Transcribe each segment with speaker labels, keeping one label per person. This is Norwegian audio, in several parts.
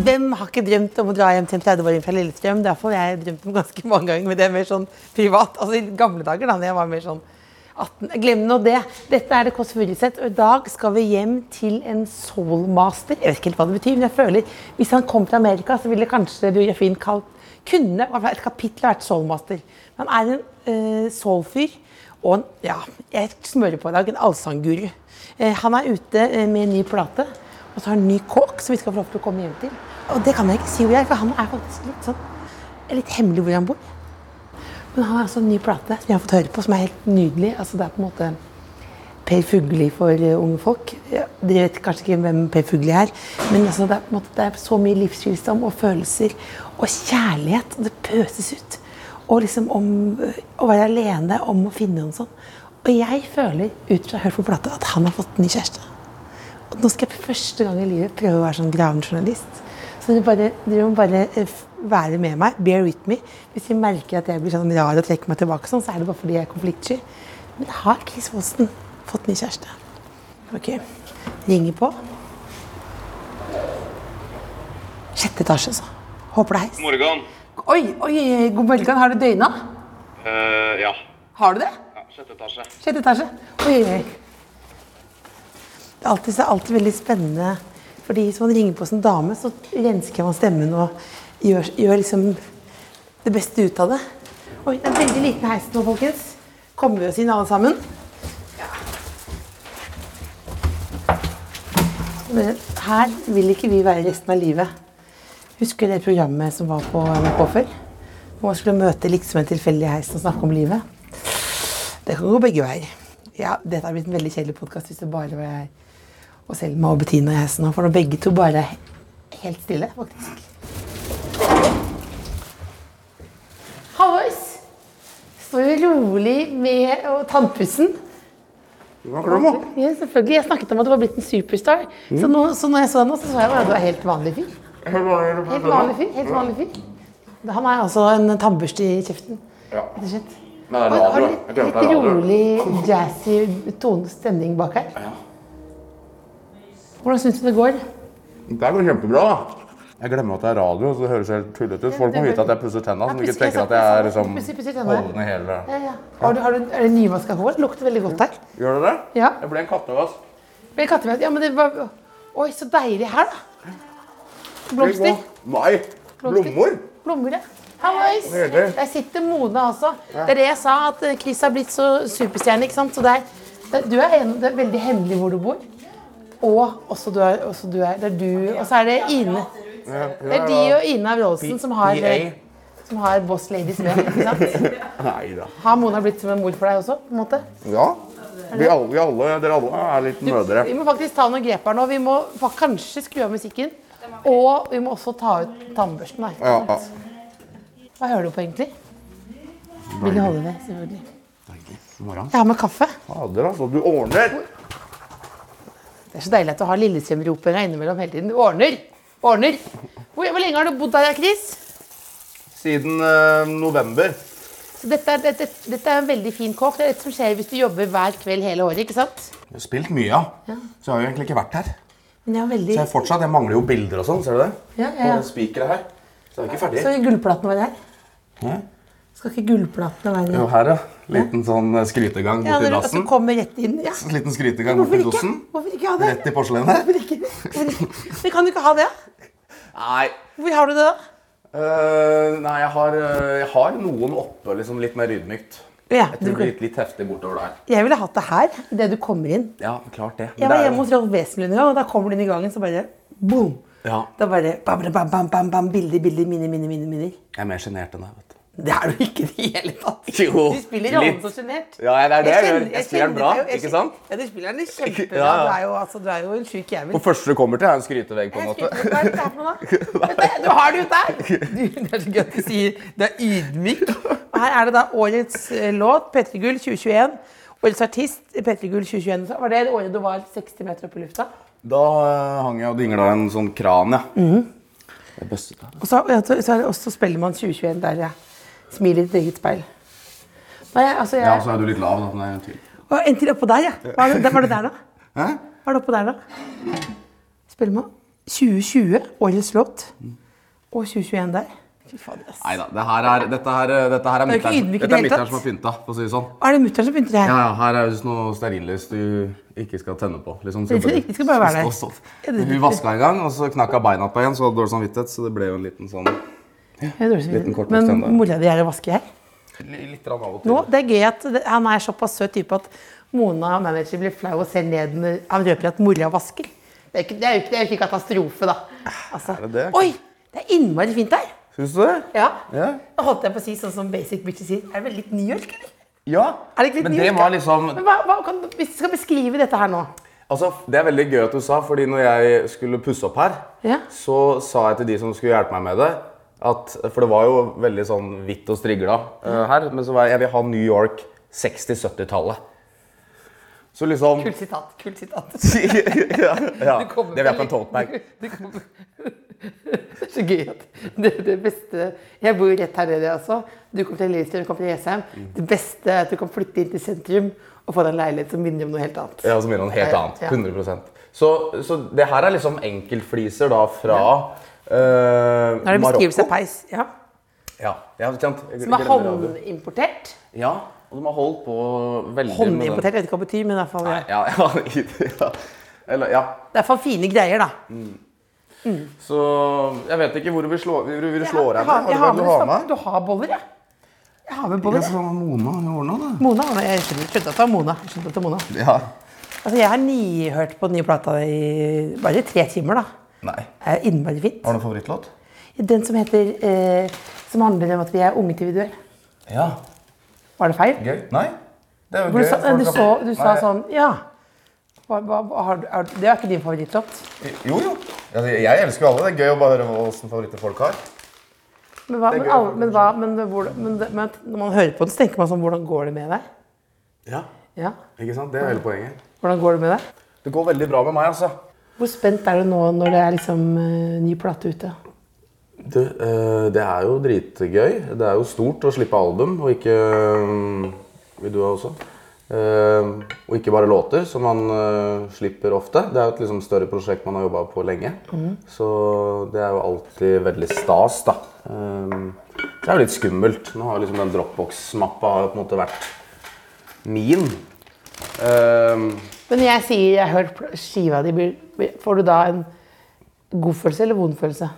Speaker 1: Hvem har ikke drømt om å dra hjem til en 30-åring fra Lillestrøm? Det er iallfall jeg drømt om ganske mange ganger, men det er mer sånn privat. Altså I gamle dager, da når jeg var mer sånn 18 Glem nå det. Dette er det Kåss Furuseth, og i dag skal vi hjem til en soulmaster. Jeg vet ikke helt hva det betyr, men jeg føler hvis han kom fra Amerika, så ville kanskje biografien kalt Kunne i hvert fall et kapittel vært soulmaster. Men han er en eh, soulfyr og en Ja, jeg smører på i dag. En allsangguru. Eh, han er ute eh, med en ny plate. Og så har han ny kåk som vi skal få lov til å komme hjem til. Og det kan jeg ikke si hvor jeg er, for han er faktisk litt sånn litt hemmelig hvor han bor. Men han har altså en ny plate som jeg har fått høre på, som er helt nydelig. Altså det er på en måte Per Fugelli for eh, unge folk. Ja, dere vet kanskje ikke hvem Per Fugelli er, men altså det, er på en måte, det er så mye livsvisdom og følelser og kjærlighet. Og det pøses ut. Og liksom om eh, å være alene, om å finne noen sånn. Og jeg føler ut fra Hør på plata at han har fått en ny kjæreste. Og nå skal jeg for første gang i livet prøve å være sånn gravende journalist. Så dere, bare, dere må bare eh, f- være med meg. Bear with me. Hvis vi merker at jeg blir sånn rar og trekker meg tilbake, sånn, så er det bare fordi jeg er konfliktsky. Men har Chris Wollsen fått ny kjæreste? Ok. Ringer på. Sjette etasje, så. Håper det er heis.
Speaker 2: Morgan.
Speaker 1: Oi, oi, oi, god morgen. Har du døgna?
Speaker 2: Eh, ja.
Speaker 1: Har du det?
Speaker 2: ja. Sjette etasje.
Speaker 1: Sjette etasje. Oi, oi, oi. Det er alltid, så er det alltid veldig spennende. Fordi hvis man ringer på som dame, så rensker man stemmen og gjør, gjør liksom det beste ut av det. Oi, det er en veldig liten heis nå, folkens. Kommer vi oss inn alle sammen? Men her vil ikke vi være resten av livet. Husker du det programmet som var på NRK før? Hvor man skulle møte liksom en tilfeldig i heisen og snakke om livet? Det kan gå begge veier. Ja, Dette har blitt en veldig kjedelig podkast hvis det bare var jeg og Selma og Bettina og jeg som nå, for nå begge to bare er helt stille, faktisk. Hallois! Står jo rolig med og tannpussen. Ja, selvfølgelig. Jeg snakket om at du var blitt en superstar. Så, nå, så når jeg så deg nå, så sa jeg at du er helt vanlig fyr. Mm. Helt vanlig fyr. helt vanlig fyr. Han er altså en tannbørste i kjeften.
Speaker 3: Ja.
Speaker 1: rett og slett.
Speaker 3: Men det er
Speaker 1: Og- og
Speaker 3: radio.
Speaker 1: litt-
Speaker 3: Jeg glemte
Speaker 1: Litt
Speaker 3: radio.
Speaker 1: rolig, jazzy tone stemning bak her.
Speaker 3: Ja.
Speaker 1: Hvordan syns du det går?
Speaker 3: Det her går kjempebra. da. Jeg glemmer at det er radio, så det høres helt tullete ut. Folk må vite at jeg pusser tenna, så de ikke tenker at jeg er liksom
Speaker 1: Pusser- pusser tenna.
Speaker 3: holdende hele
Speaker 1: Ja, ja. Har du, har du, er det nyvaska hår? Det lukter veldig godt her.
Speaker 3: Gjør dere det?
Speaker 1: Ja.
Speaker 3: Jeg ble en kattevass.
Speaker 1: Men kattemat, ja, men det var, Oi, så deilig her, da. Blomster.
Speaker 3: Nei, blommer.
Speaker 1: Blommer, ja. Hallois!
Speaker 3: Nydelig.
Speaker 1: Der sitter Mona også. Det er det jeg sa, at eh, Chris har blitt så superstjerne. ikke sant? Så det er, det, du er en, det er veldig hemmelig hvor du bor. Og også du er, også du er, det er du, og så er det Ine. Det er de og Ine Wroldsen som har, eh, som har Boss Ladies med. ikke sant?
Speaker 3: Nei da.
Speaker 1: Har Mona blitt som en mor for deg også? på en måte?
Speaker 3: Ja. Vi alle, vi alle, dere alle er litt
Speaker 1: Du,
Speaker 3: mødre.
Speaker 1: Vi må faktisk ta noen grep her nå. Vi må fa- kanskje skru av musikken. Og vi må også ta ut tannbørsten. da, ikke
Speaker 3: Ja,
Speaker 1: sant?
Speaker 3: ja.
Speaker 1: Hva hører du på egentlig? Billie Holiday, selvfølgelig.
Speaker 3: God morgen.
Speaker 1: Jeg har med kaffe.
Speaker 3: Fader, altså. Du ordner.
Speaker 1: Det er så deilig at du har Lillestrøm-ropinga innimellom hele tiden. Du ordner! Ordner! Hvor, hvor lenge har du bodd her, Chris?
Speaker 3: Siden eh, november.
Speaker 1: Så dette, er, dette, dette er en veldig fin kåk. Det er det som skjer hvis du jobber hver kveld hele året, ikke sant?
Speaker 3: Jeg har spilt mye, ja. Så jeg har jo egentlig ikke vært her.
Speaker 1: Men jeg har veldig...
Speaker 3: Så jeg fortsatt, jeg mangler jo bilder og sånn, ser du det?
Speaker 1: Ja, ja, ja.
Speaker 3: På spikere her. Så jeg er ikke ferdig.
Speaker 1: Skal ikke gullplatene være her?
Speaker 3: Hæ?
Speaker 1: Skal ikke gullplatene være
Speaker 3: Jo,
Speaker 1: her?
Speaker 3: her, ja. Liten sånn eh, skrytegang
Speaker 1: Ja, når
Speaker 3: bort til
Speaker 1: du
Speaker 3: dassen.
Speaker 1: altså, kommer rett inn. Ja.
Speaker 3: Liten skrytegang bort
Speaker 1: Hvorfor
Speaker 3: til
Speaker 1: ikke?
Speaker 3: dassen.
Speaker 1: Hvorfor ikke ha det?
Speaker 3: Rett i porselenet.
Speaker 1: Hvorfor ikke? Hvorfor ikke? Men kan du ikke ha det?
Speaker 3: Nei.
Speaker 1: Hvor har du det, da?
Speaker 3: Eh, nei, jeg har, eh, jeg har noen oppe liksom litt mer ydmykt.
Speaker 1: Ja,
Speaker 3: Jeg tror
Speaker 1: du,
Speaker 3: det blir litt, litt heftig bortover der.
Speaker 1: jeg ville hatt det her, idet du kommer inn.
Speaker 3: Ja, klart det. Men
Speaker 1: Jeg var
Speaker 3: det er
Speaker 1: hjemme
Speaker 3: jo-
Speaker 1: hos Rolf Wesenlund en gang, og da kommer den i gangen, så bare boom!
Speaker 3: Ja.
Speaker 1: Da bare bam, bam, bam, bam, bam, bilder, bilder, minner, minner, minner. minner.
Speaker 3: Jeg er mer sjenert enn deg, vet du.
Speaker 1: Det er du ikke i det hele tatt.
Speaker 3: Jo,
Speaker 1: du spiller rollen
Speaker 3: litt.
Speaker 1: så sjenert.
Speaker 3: Ja, det er det jeg gjør.
Speaker 1: kjenner-
Speaker 3: Jeg spiller den bra,
Speaker 1: kjenner deg jo. Jeg
Speaker 3: ikke sant?
Speaker 1: kjenner- Ja, du spiller den kjempebra.
Speaker 3: Ja, ja.
Speaker 1: Du, er jo, altså, du er jo en sjuk jævel.
Speaker 3: Og første du kommer til, er en skrytevegg, på en
Speaker 1: Jeg
Speaker 3: måte.
Speaker 1: skriver- Hva er dette her for noe, da? Vet Du du har det jo der! Du, det er så gøy at du sier du er ydmyk. Og her er det da årets eh, låt, P3 Gull 2021. Årets artist, P3 Gull 2021. Så Var det det året du var 60 meter opp i lufta?
Speaker 3: Da eh, hang jeg og dingla en sånn kran, ja.
Speaker 1: Mhm.
Speaker 3: Det er bøsset der.
Speaker 1: Og så, ja, så så er det også Spellemann 2021 der, ja. Smil i ditt eget speil. Nei, altså jeg,
Speaker 3: Ja, så er du litt lav, da. Nei, en til.
Speaker 1: Å, En til oppå der, ja. Var det, var det der, da?
Speaker 3: Hæ?
Speaker 1: Var det oppå der, da? Spellemann. 2020, årets låt. Og 2021 der. Fy fader, ass.
Speaker 3: Nei da. Det her er, dette, her, eh, dette her er
Speaker 1: Det er jo ikke
Speaker 3: mutter'n
Speaker 1: ydmyk i det
Speaker 3: dette
Speaker 1: hele
Speaker 3: er mutter'n
Speaker 1: tatt.
Speaker 3: som har pynta, for å si det sånn.
Speaker 1: Er det mutter'n som begynte det her?
Speaker 3: Ja, ja, her er visst noe stearinlys du ikke skal tenne på. Liksom,
Speaker 1: Det skal- det skal bare være der.
Speaker 3: Stå,
Speaker 1: Ja,
Speaker 3: stå.
Speaker 1: det-
Speaker 3: Hun vaska en gang, og så knakk hun beina på en, så hadde dårlig samvittighet. Så det ble jo en liten sånn
Speaker 1: Jeg er dårlig samvittighet.
Speaker 3: Liten kort motstand der.
Speaker 1: Men mora di er i vaske her?
Speaker 3: Litt rann av og til.
Speaker 1: Nå, det er gøy at det, han er såpass søt type at Mona og manager blir flau og ser ned når han røper at mora vasker. Det er, jo ikke, det, er jo ikke, det er jo ikke katastrofe, da. Altså,
Speaker 3: Ah, Er det det?
Speaker 1: Oi! Det er innmari fint her.
Speaker 3: Syns du det?
Speaker 1: Ja.
Speaker 3: Ja.
Speaker 1: Da holdt jeg på å si sånn som Basic Bitches sier. Er det vel litt New York, eller?
Speaker 3: ja.
Speaker 1: Er det ikke litt
Speaker 3: Men
Speaker 1: New
Speaker 3: det
Speaker 1: York,
Speaker 3: var
Speaker 1: da?
Speaker 3: liksom
Speaker 1: Men hva, hva kan, hvis du skal beskrive dette her nå
Speaker 3: Altså, Det er veldig gøy at du sa, fordi når jeg skulle pusse opp her,
Speaker 1: Ja.
Speaker 3: så sa jeg til de som skulle hjelpe meg med det at, For det var jo veldig sånn hvitt og strigla eh, her, men så var jeg, jeg vil ha New York 60-70-tallet. Så liksom
Speaker 1: Kult sitat. kult sitat.
Speaker 3: ja, ja.
Speaker 1: Du kommer
Speaker 3: Det vil jeg
Speaker 1: fra
Speaker 3: på en tote-bag.
Speaker 1: Du- du kommer- Det er så gøy at det, det beste Jeg bor jo rett her nede også. Du kommer fra Lillestrøm, jeg kommer fra Jessheim.
Speaker 3: Mm.
Speaker 1: Det beste er at du kan flytte inn til sentrum og få deg en leilighet som minner om noe helt annet.
Speaker 3: Ja, altså, som gjør noe helt
Speaker 1: Ja,
Speaker 3: annet.
Speaker 1: ja.
Speaker 3: 100 Så, så det her er liksom enkeltfliser da fra eh,
Speaker 1: Nå er det beskrivelse
Speaker 3: Marokko.
Speaker 1: av peis. Ja.
Speaker 3: Ja, ja, ikke sant? Jeg
Speaker 1: Som er
Speaker 3: glemmer aldri.
Speaker 1: håndimportert.
Speaker 3: Ja, og de har holdt på veldig med den.
Speaker 1: Håndimportert, jeg vet ikke hva det betyr, men i hvert fall, ja.
Speaker 3: Nei, ja, ja, i det, ja. Eller, ja.
Speaker 1: det er i hvert fall fine greier, da.
Speaker 3: Så jeg vet ikke hvor vi slår hvor vi slår
Speaker 1: jeg
Speaker 3: her.
Speaker 1: har, jeg har med,
Speaker 3: har
Speaker 1: du har boller, jeg. Jeg har med boller. jeg.
Speaker 3: Mona har ordna det.
Speaker 1: Mona, har det. jeg skjønner- skjønte at det var Mona. Jeg skjønte at det var Mona.
Speaker 3: Ja.
Speaker 1: Altså, jeg har nihørt på den nye plata i bare tre timer, da.
Speaker 3: Nei.
Speaker 1: Det er innmari fint.
Speaker 3: Har du noen favorittlåt?
Speaker 1: Den som heter eh, Som handler om at vi er unge til vi dør.
Speaker 3: Ja.
Speaker 1: Var det feil?
Speaker 3: Gøy. Nei. Det er jo
Speaker 1: Hvor du sa,
Speaker 3: Folk
Speaker 1: du
Speaker 3: har-
Speaker 1: så, du sa
Speaker 3: Nei.
Speaker 1: sånn Ja. Hva, hva, hva har, du- er, det er ikke din favorittlåt.
Speaker 3: Jo, jo. Altså, Jeg elsker jo alle. Det er gøy å bare høre hva åssen favoritter folk har.
Speaker 1: Men, hva,
Speaker 3: Det er
Speaker 1: men,
Speaker 3: gøy,
Speaker 1: alle, men, hva, men, hvor, men, det- men når man hører på den, så tenker man sånn Hvordan går det med deg?
Speaker 3: Ja,
Speaker 1: Ja,
Speaker 3: ikke sant? Det er hele poenget.
Speaker 1: hvordan går det med deg?
Speaker 3: Det går veldig bra med meg, altså.
Speaker 1: Hvor spent er du nå når det er liksom eh, ny plate ute?
Speaker 3: Du, eh, det er jo dritgøy. Det er jo stort å slippe album, og ikke eh, Vil du ha også? Eh, og ikke bare låter, som man eh, slipper ofte. Det er jo et liksom, større prosjekt man har jobba på lenge. Så det er jo alltid veldig stas, da. Eh, det er jo litt skummelt. Nå har jo liksom den Dropbox-mappa har jo på en måte vært min. Eh,
Speaker 1: Men jeg sier jeg har hørt pl- skiva di. blir- blir- Får du da en god følelse eller vond følelse?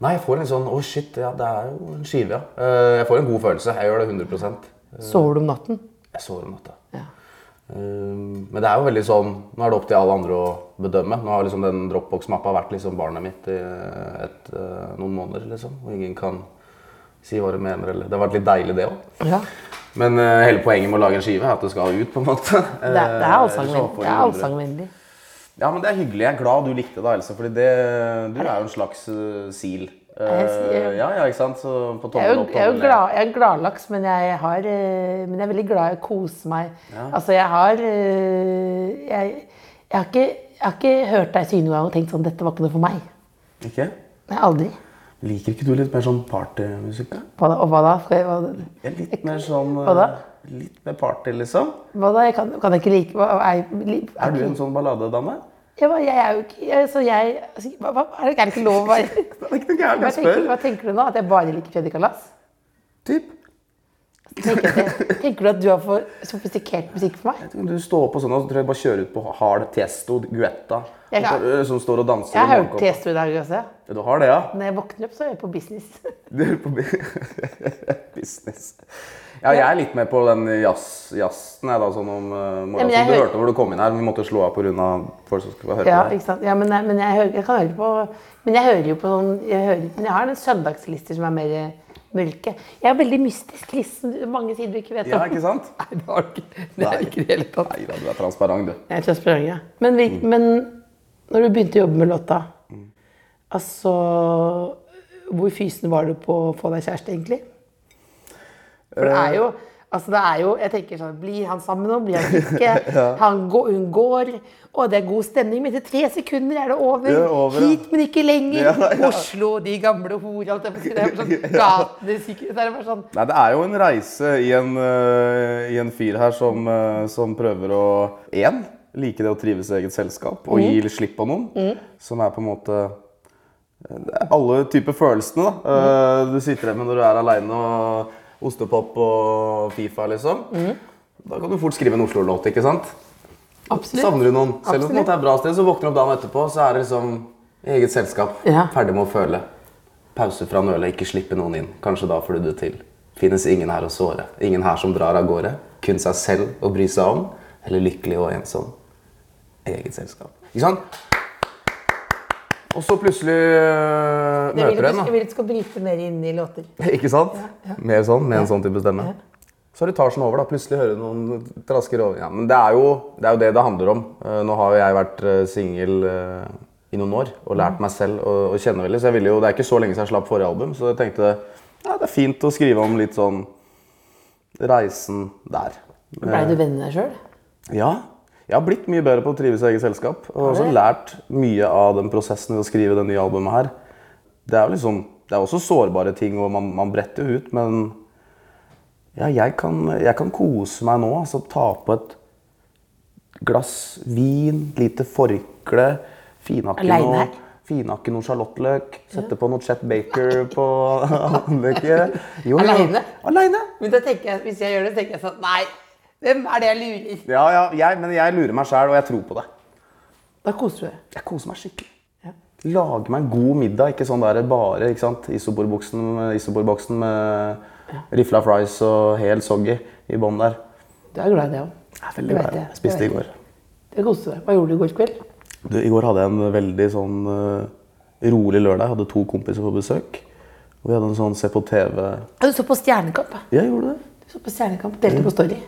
Speaker 3: nei, jeg får en sånn Å, shit, ja, det er jo en skive, ja. Eh, jeg får en god følelse. Jeg gjør det 100
Speaker 1: Sover du om natten?
Speaker 3: Jeg sover om natta.
Speaker 1: Ja.
Speaker 3: Um, men det er jo veldig sånn Nå er det opp til alle andre å bedømme. Nå har liksom den Dropbox-mappa vært liksom barnet mitt i eh, et, eh, noen måneder, liksom. Og ingen kan si hva de mener, eller Det har vært litt deilig, det òg.
Speaker 1: ja.
Speaker 3: Men eh, hele poenget med å lage en skive er at det skal ut, på en måte. Eh,
Speaker 1: Det er, det er allsangvennlig. Det er
Speaker 3: allsang.
Speaker 1: allsangvennlig.
Speaker 3: Ja, men det er hyggelig. Jeg er glad du likte det, Else, fordi det, du er jo en slags eh, sil.
Speaker 1: Jeg er sil,
Speaker 3: Eh, ja, ja, ikke sant? Så på
Speaker 1: Jeg er jo,
Speaker 3: tommel opp,
Speaker 1: jeg er jo
Speaker 3: tommel ned.
Speaker 1: glad, jeg er en gladlaks, men jeg, har, eh, men jeg er veldig glad i å kose meg. Altså, jeg har eh, jeg, jeg, har ikke, jeg har ikke hørt deg synge noen gang og tenkt sånn Dette var ikke noe for meg.
Speaker 3: Ikke?
Speaker 1: Nei, aldri.
Speaker 3: Liker ikke du litt mer sånn partymusikk, da?
Speaker 1: Hva da? Og hva da? Skal jeg, hva,
Speaker 3: Det er litt mer sånn
Speaker 1: Hva da?
Speaker 3: eh, Litt mer party, liksom.
Speaker 1: hva da? Jeg kan, kan jeg ikke like hva, er, jeg- li-
Speaker 3: Er
Speaker 1: er
Speaker 3: du
Speaker 1: ikke-
Speaker 3: en sånn balladedame?
Speaker 1: Jeg, bare- jeg er jo ikke jeg, Så jeg altså, hva, hva, er, det, er det ikke lov å være
Speaker 3: Det er ikke noe gærent,
Speaker 1: hva
Speaker 3: jeg
Speaker 1: tenker,
Speaker 3: spør.
Speaker 1: hva tenker du nå? At jeg bare liker Freddy Kalas?
Speaker 3: Typ.
Speaker 1: Tenker, jeg- tenker du at du har for sofistikert musikk for meg?
Speaker 3: Du står på sånn og så tror jeg bare kjører ut på hard Tiesto, Guetta,
Speaker 1: Jeg kan-
Speaker 3: og- øh, som står og danser.
Speaker 1: Jeg
Speaker 3: i
Speaker 1: har hørt
Speaker 3: morgenkåpa.
Speaker 1: Tiesto i dag også.
Speaker 3: Du har det, ja?
Speaker 1: Når jeg våkner opp, så er jeg på business.
Speaker 3: Du er på bu- business. Ja, jeg er litt med på den jazz- jazzen jeg da, sånn om uh,
Speaker 1: Ja, men
Speaker 3: morgenen.
Speaker 1: jeg
Speaker 3: Som du
Speaker 1: hører-
Speaker 3: hørte hvor du kom inn her, men vi måtte slå av pga. folk som skulle høre
Speaker 1: Ja,
Speaker 3: på deg.
Speaker 1: ikke sant? Ja, men, jeg, men jeg, hører, jeg kan høre på Men jeg hører jo på sånn jeg hører, Men jeg har en søndagslister som er mer eh, mørke. Jeg er veldig mystisk liste. Mange sider du ikke vet om.
Speaker 3: Ja, ikke sant?
Speaker 1: Nei, det har du ikke. Det er
Speaker 3: Nei.
Speaker 1: du ikke i det hele tatt.
Speaker 3: Nei da, du er transparent, du.
Speaker 1: Jeg er transparent, ja. Men, vi,
Speaker 3: Mm.
Speaker 1: men når du begynte å jobbe med låta, altså Hvor fysen var du på å få deg kjæreste, egentlig? For det er jo
Speaker 3: Eh.
Speaker 1: Altså det er jo, jeg tenker sånn, Blir han sammen nå? Blir han ikke? han går, hun går. Å, det er god stemning, men etter tre sekunder er det over.
Speaker 3: Det er over, ja.
Speaker 1: Hit, men ikke lenger.
Speaker 3: Ja, ja.
Speaker 1: Oslo, de gamle horer. alt det på å si. Det er bare sånn, gatene, syke- det er bare sånn
Speaker 3: Nei, det er jo en reise i en, øh, i en fyr her som, øh, som prøver å Én, like det å trives i eget selskap og gi litt slipp på noen. Som er på en måte det er alle typer følelsene da. øh, du sitter der med når du er aleine og ostepop og Fifa, liksom. Da kan du fort skrive en Oslo-låt, ikke sant?
Speaker 1: Absolutt.
Speaker 3: Savner du noen. Selv om
Speaker 1: Absolutt.
Speaker 3: det på en måte er et bra sted, så våkner du opp dagen etterpå, så er det liksom i eget selskap.
Speaker 1: Ja.
Speaker 3: Ferdig med å føle. Pause fra nølet, ikke slippe noen inn. Kanskje da får du det til. Finnes ingen her å såre. Ingen her som drar av gårde. Kun seg selv å bry seg om. Eller lykkelig og ensom. Eget selskap. Ikke sant? Og så plutselig øh,
Speaker 1: Jeg vil
Speaker 3: møter
Speaker 1: at
Speaker 3: du en,
Speaker 1: du- jeg
Speaker 3: da.
Speaker 1: vil at du skal bryte mer inn i låter.
Speaker 3: Ikke sant? Mer sånn, med en sånn type stemme. Så er det etasjen over, da. Plutselig hører du noen trasker over. Ja, men det er jo det er jo det, det handler om. Eh, Nå har jo jeg vært eh, singel eh, i noen år og lært meg selv å, å kjenne veldig. Så jeg ville jo, Det er ikke så lenge siden jeg slapp forrige album, så jeg tenkte ja, det er fint å skrive om litt sånn reisen der.
Speaker 1: Blei du venn med deg sjøl?
Speaker 3: Ja. Jeg har blitt mye bedre på å trives i eget selskap. Og også lært mye av den prosessen ved å skrive det nye albumet her. Det er jo liksom, det er også sårbare ting, og man, man bretter jo ut, men ja, jeg kan, jeg kan kose meg nå. altså Ta på et glass vin, lite forkle, finhakke
Speaker 1: Alene
Speaker 3: noe,
Speaker 1: her?
Speaker 3: finhakke noe sjalottløk, sette på noe Chet Baker på Anneke. Jo, jo.
Speaker 1: Alene?
Speaker 3: Aleine.
Speaker 1: Men da tenker jeg, hvis jeg gjør det, tenker jeg sånn Nei, hvem er det jeg lurer?
Speaker 3: Ja, ja, jeg, men jeg lurer meg sjæl, og jeg tror på det.
Speaker 1: Da koser du deg.
Speaker 3: Jeg koser meg skikkelig. Lage meg en god middag, ikke sånn der bare ikke sant? isoporboksen isoporboksen med rifla fries og hel soggy i bånn der.
Speaker 1: Du er glad i det òg.
Speaker 3: Det er veldig
Speaker 1: Det vet
Speaker 3: bra.
Speaker 1: jeg, det
Speaker 3: Jeg spiste
Speaker 1: vet
Speaker 3: i går.
Speaker 1: Du koste deg. Hva gjorde du i går kveld?
Speaker 3: Du, I går hadde jeg en veldig sånn eh, rolig lørdag. Jeg hadde to kompiser på besøk. Og vi hadde en sånn se på TV
Speaker 1: Ja, Du så på Stjernekamp. ja.
Speaker 3: Ja, gjorde du det?
Speaker 1: Du så på Stjernekamp, delte
Speaker 3: Mm.
Speaker 1: på Story.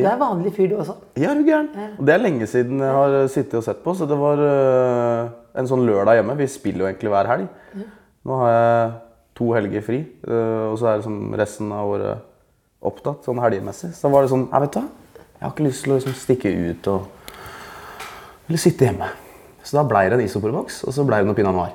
Speaker 1: Du er vanlig fyr, du også.
Speaker 3: Ja, er du gæren? Og det er lenge siden jeg har eh, sittet og sett på, så det var eh, en sånn lørdag hjemme. Vi spiller jo egentlig hver helg. Nå har jeg to helger fri, eh, og så er det sånn resten av året opptatt, sånn helgemessig. Så da var det sånn, jeg vet du hva, jeg har ikke lyst til å liksom stikke ut og Eller sitte hjemme. Så da blei det en isoporboks, og så blei det noe pinot noir.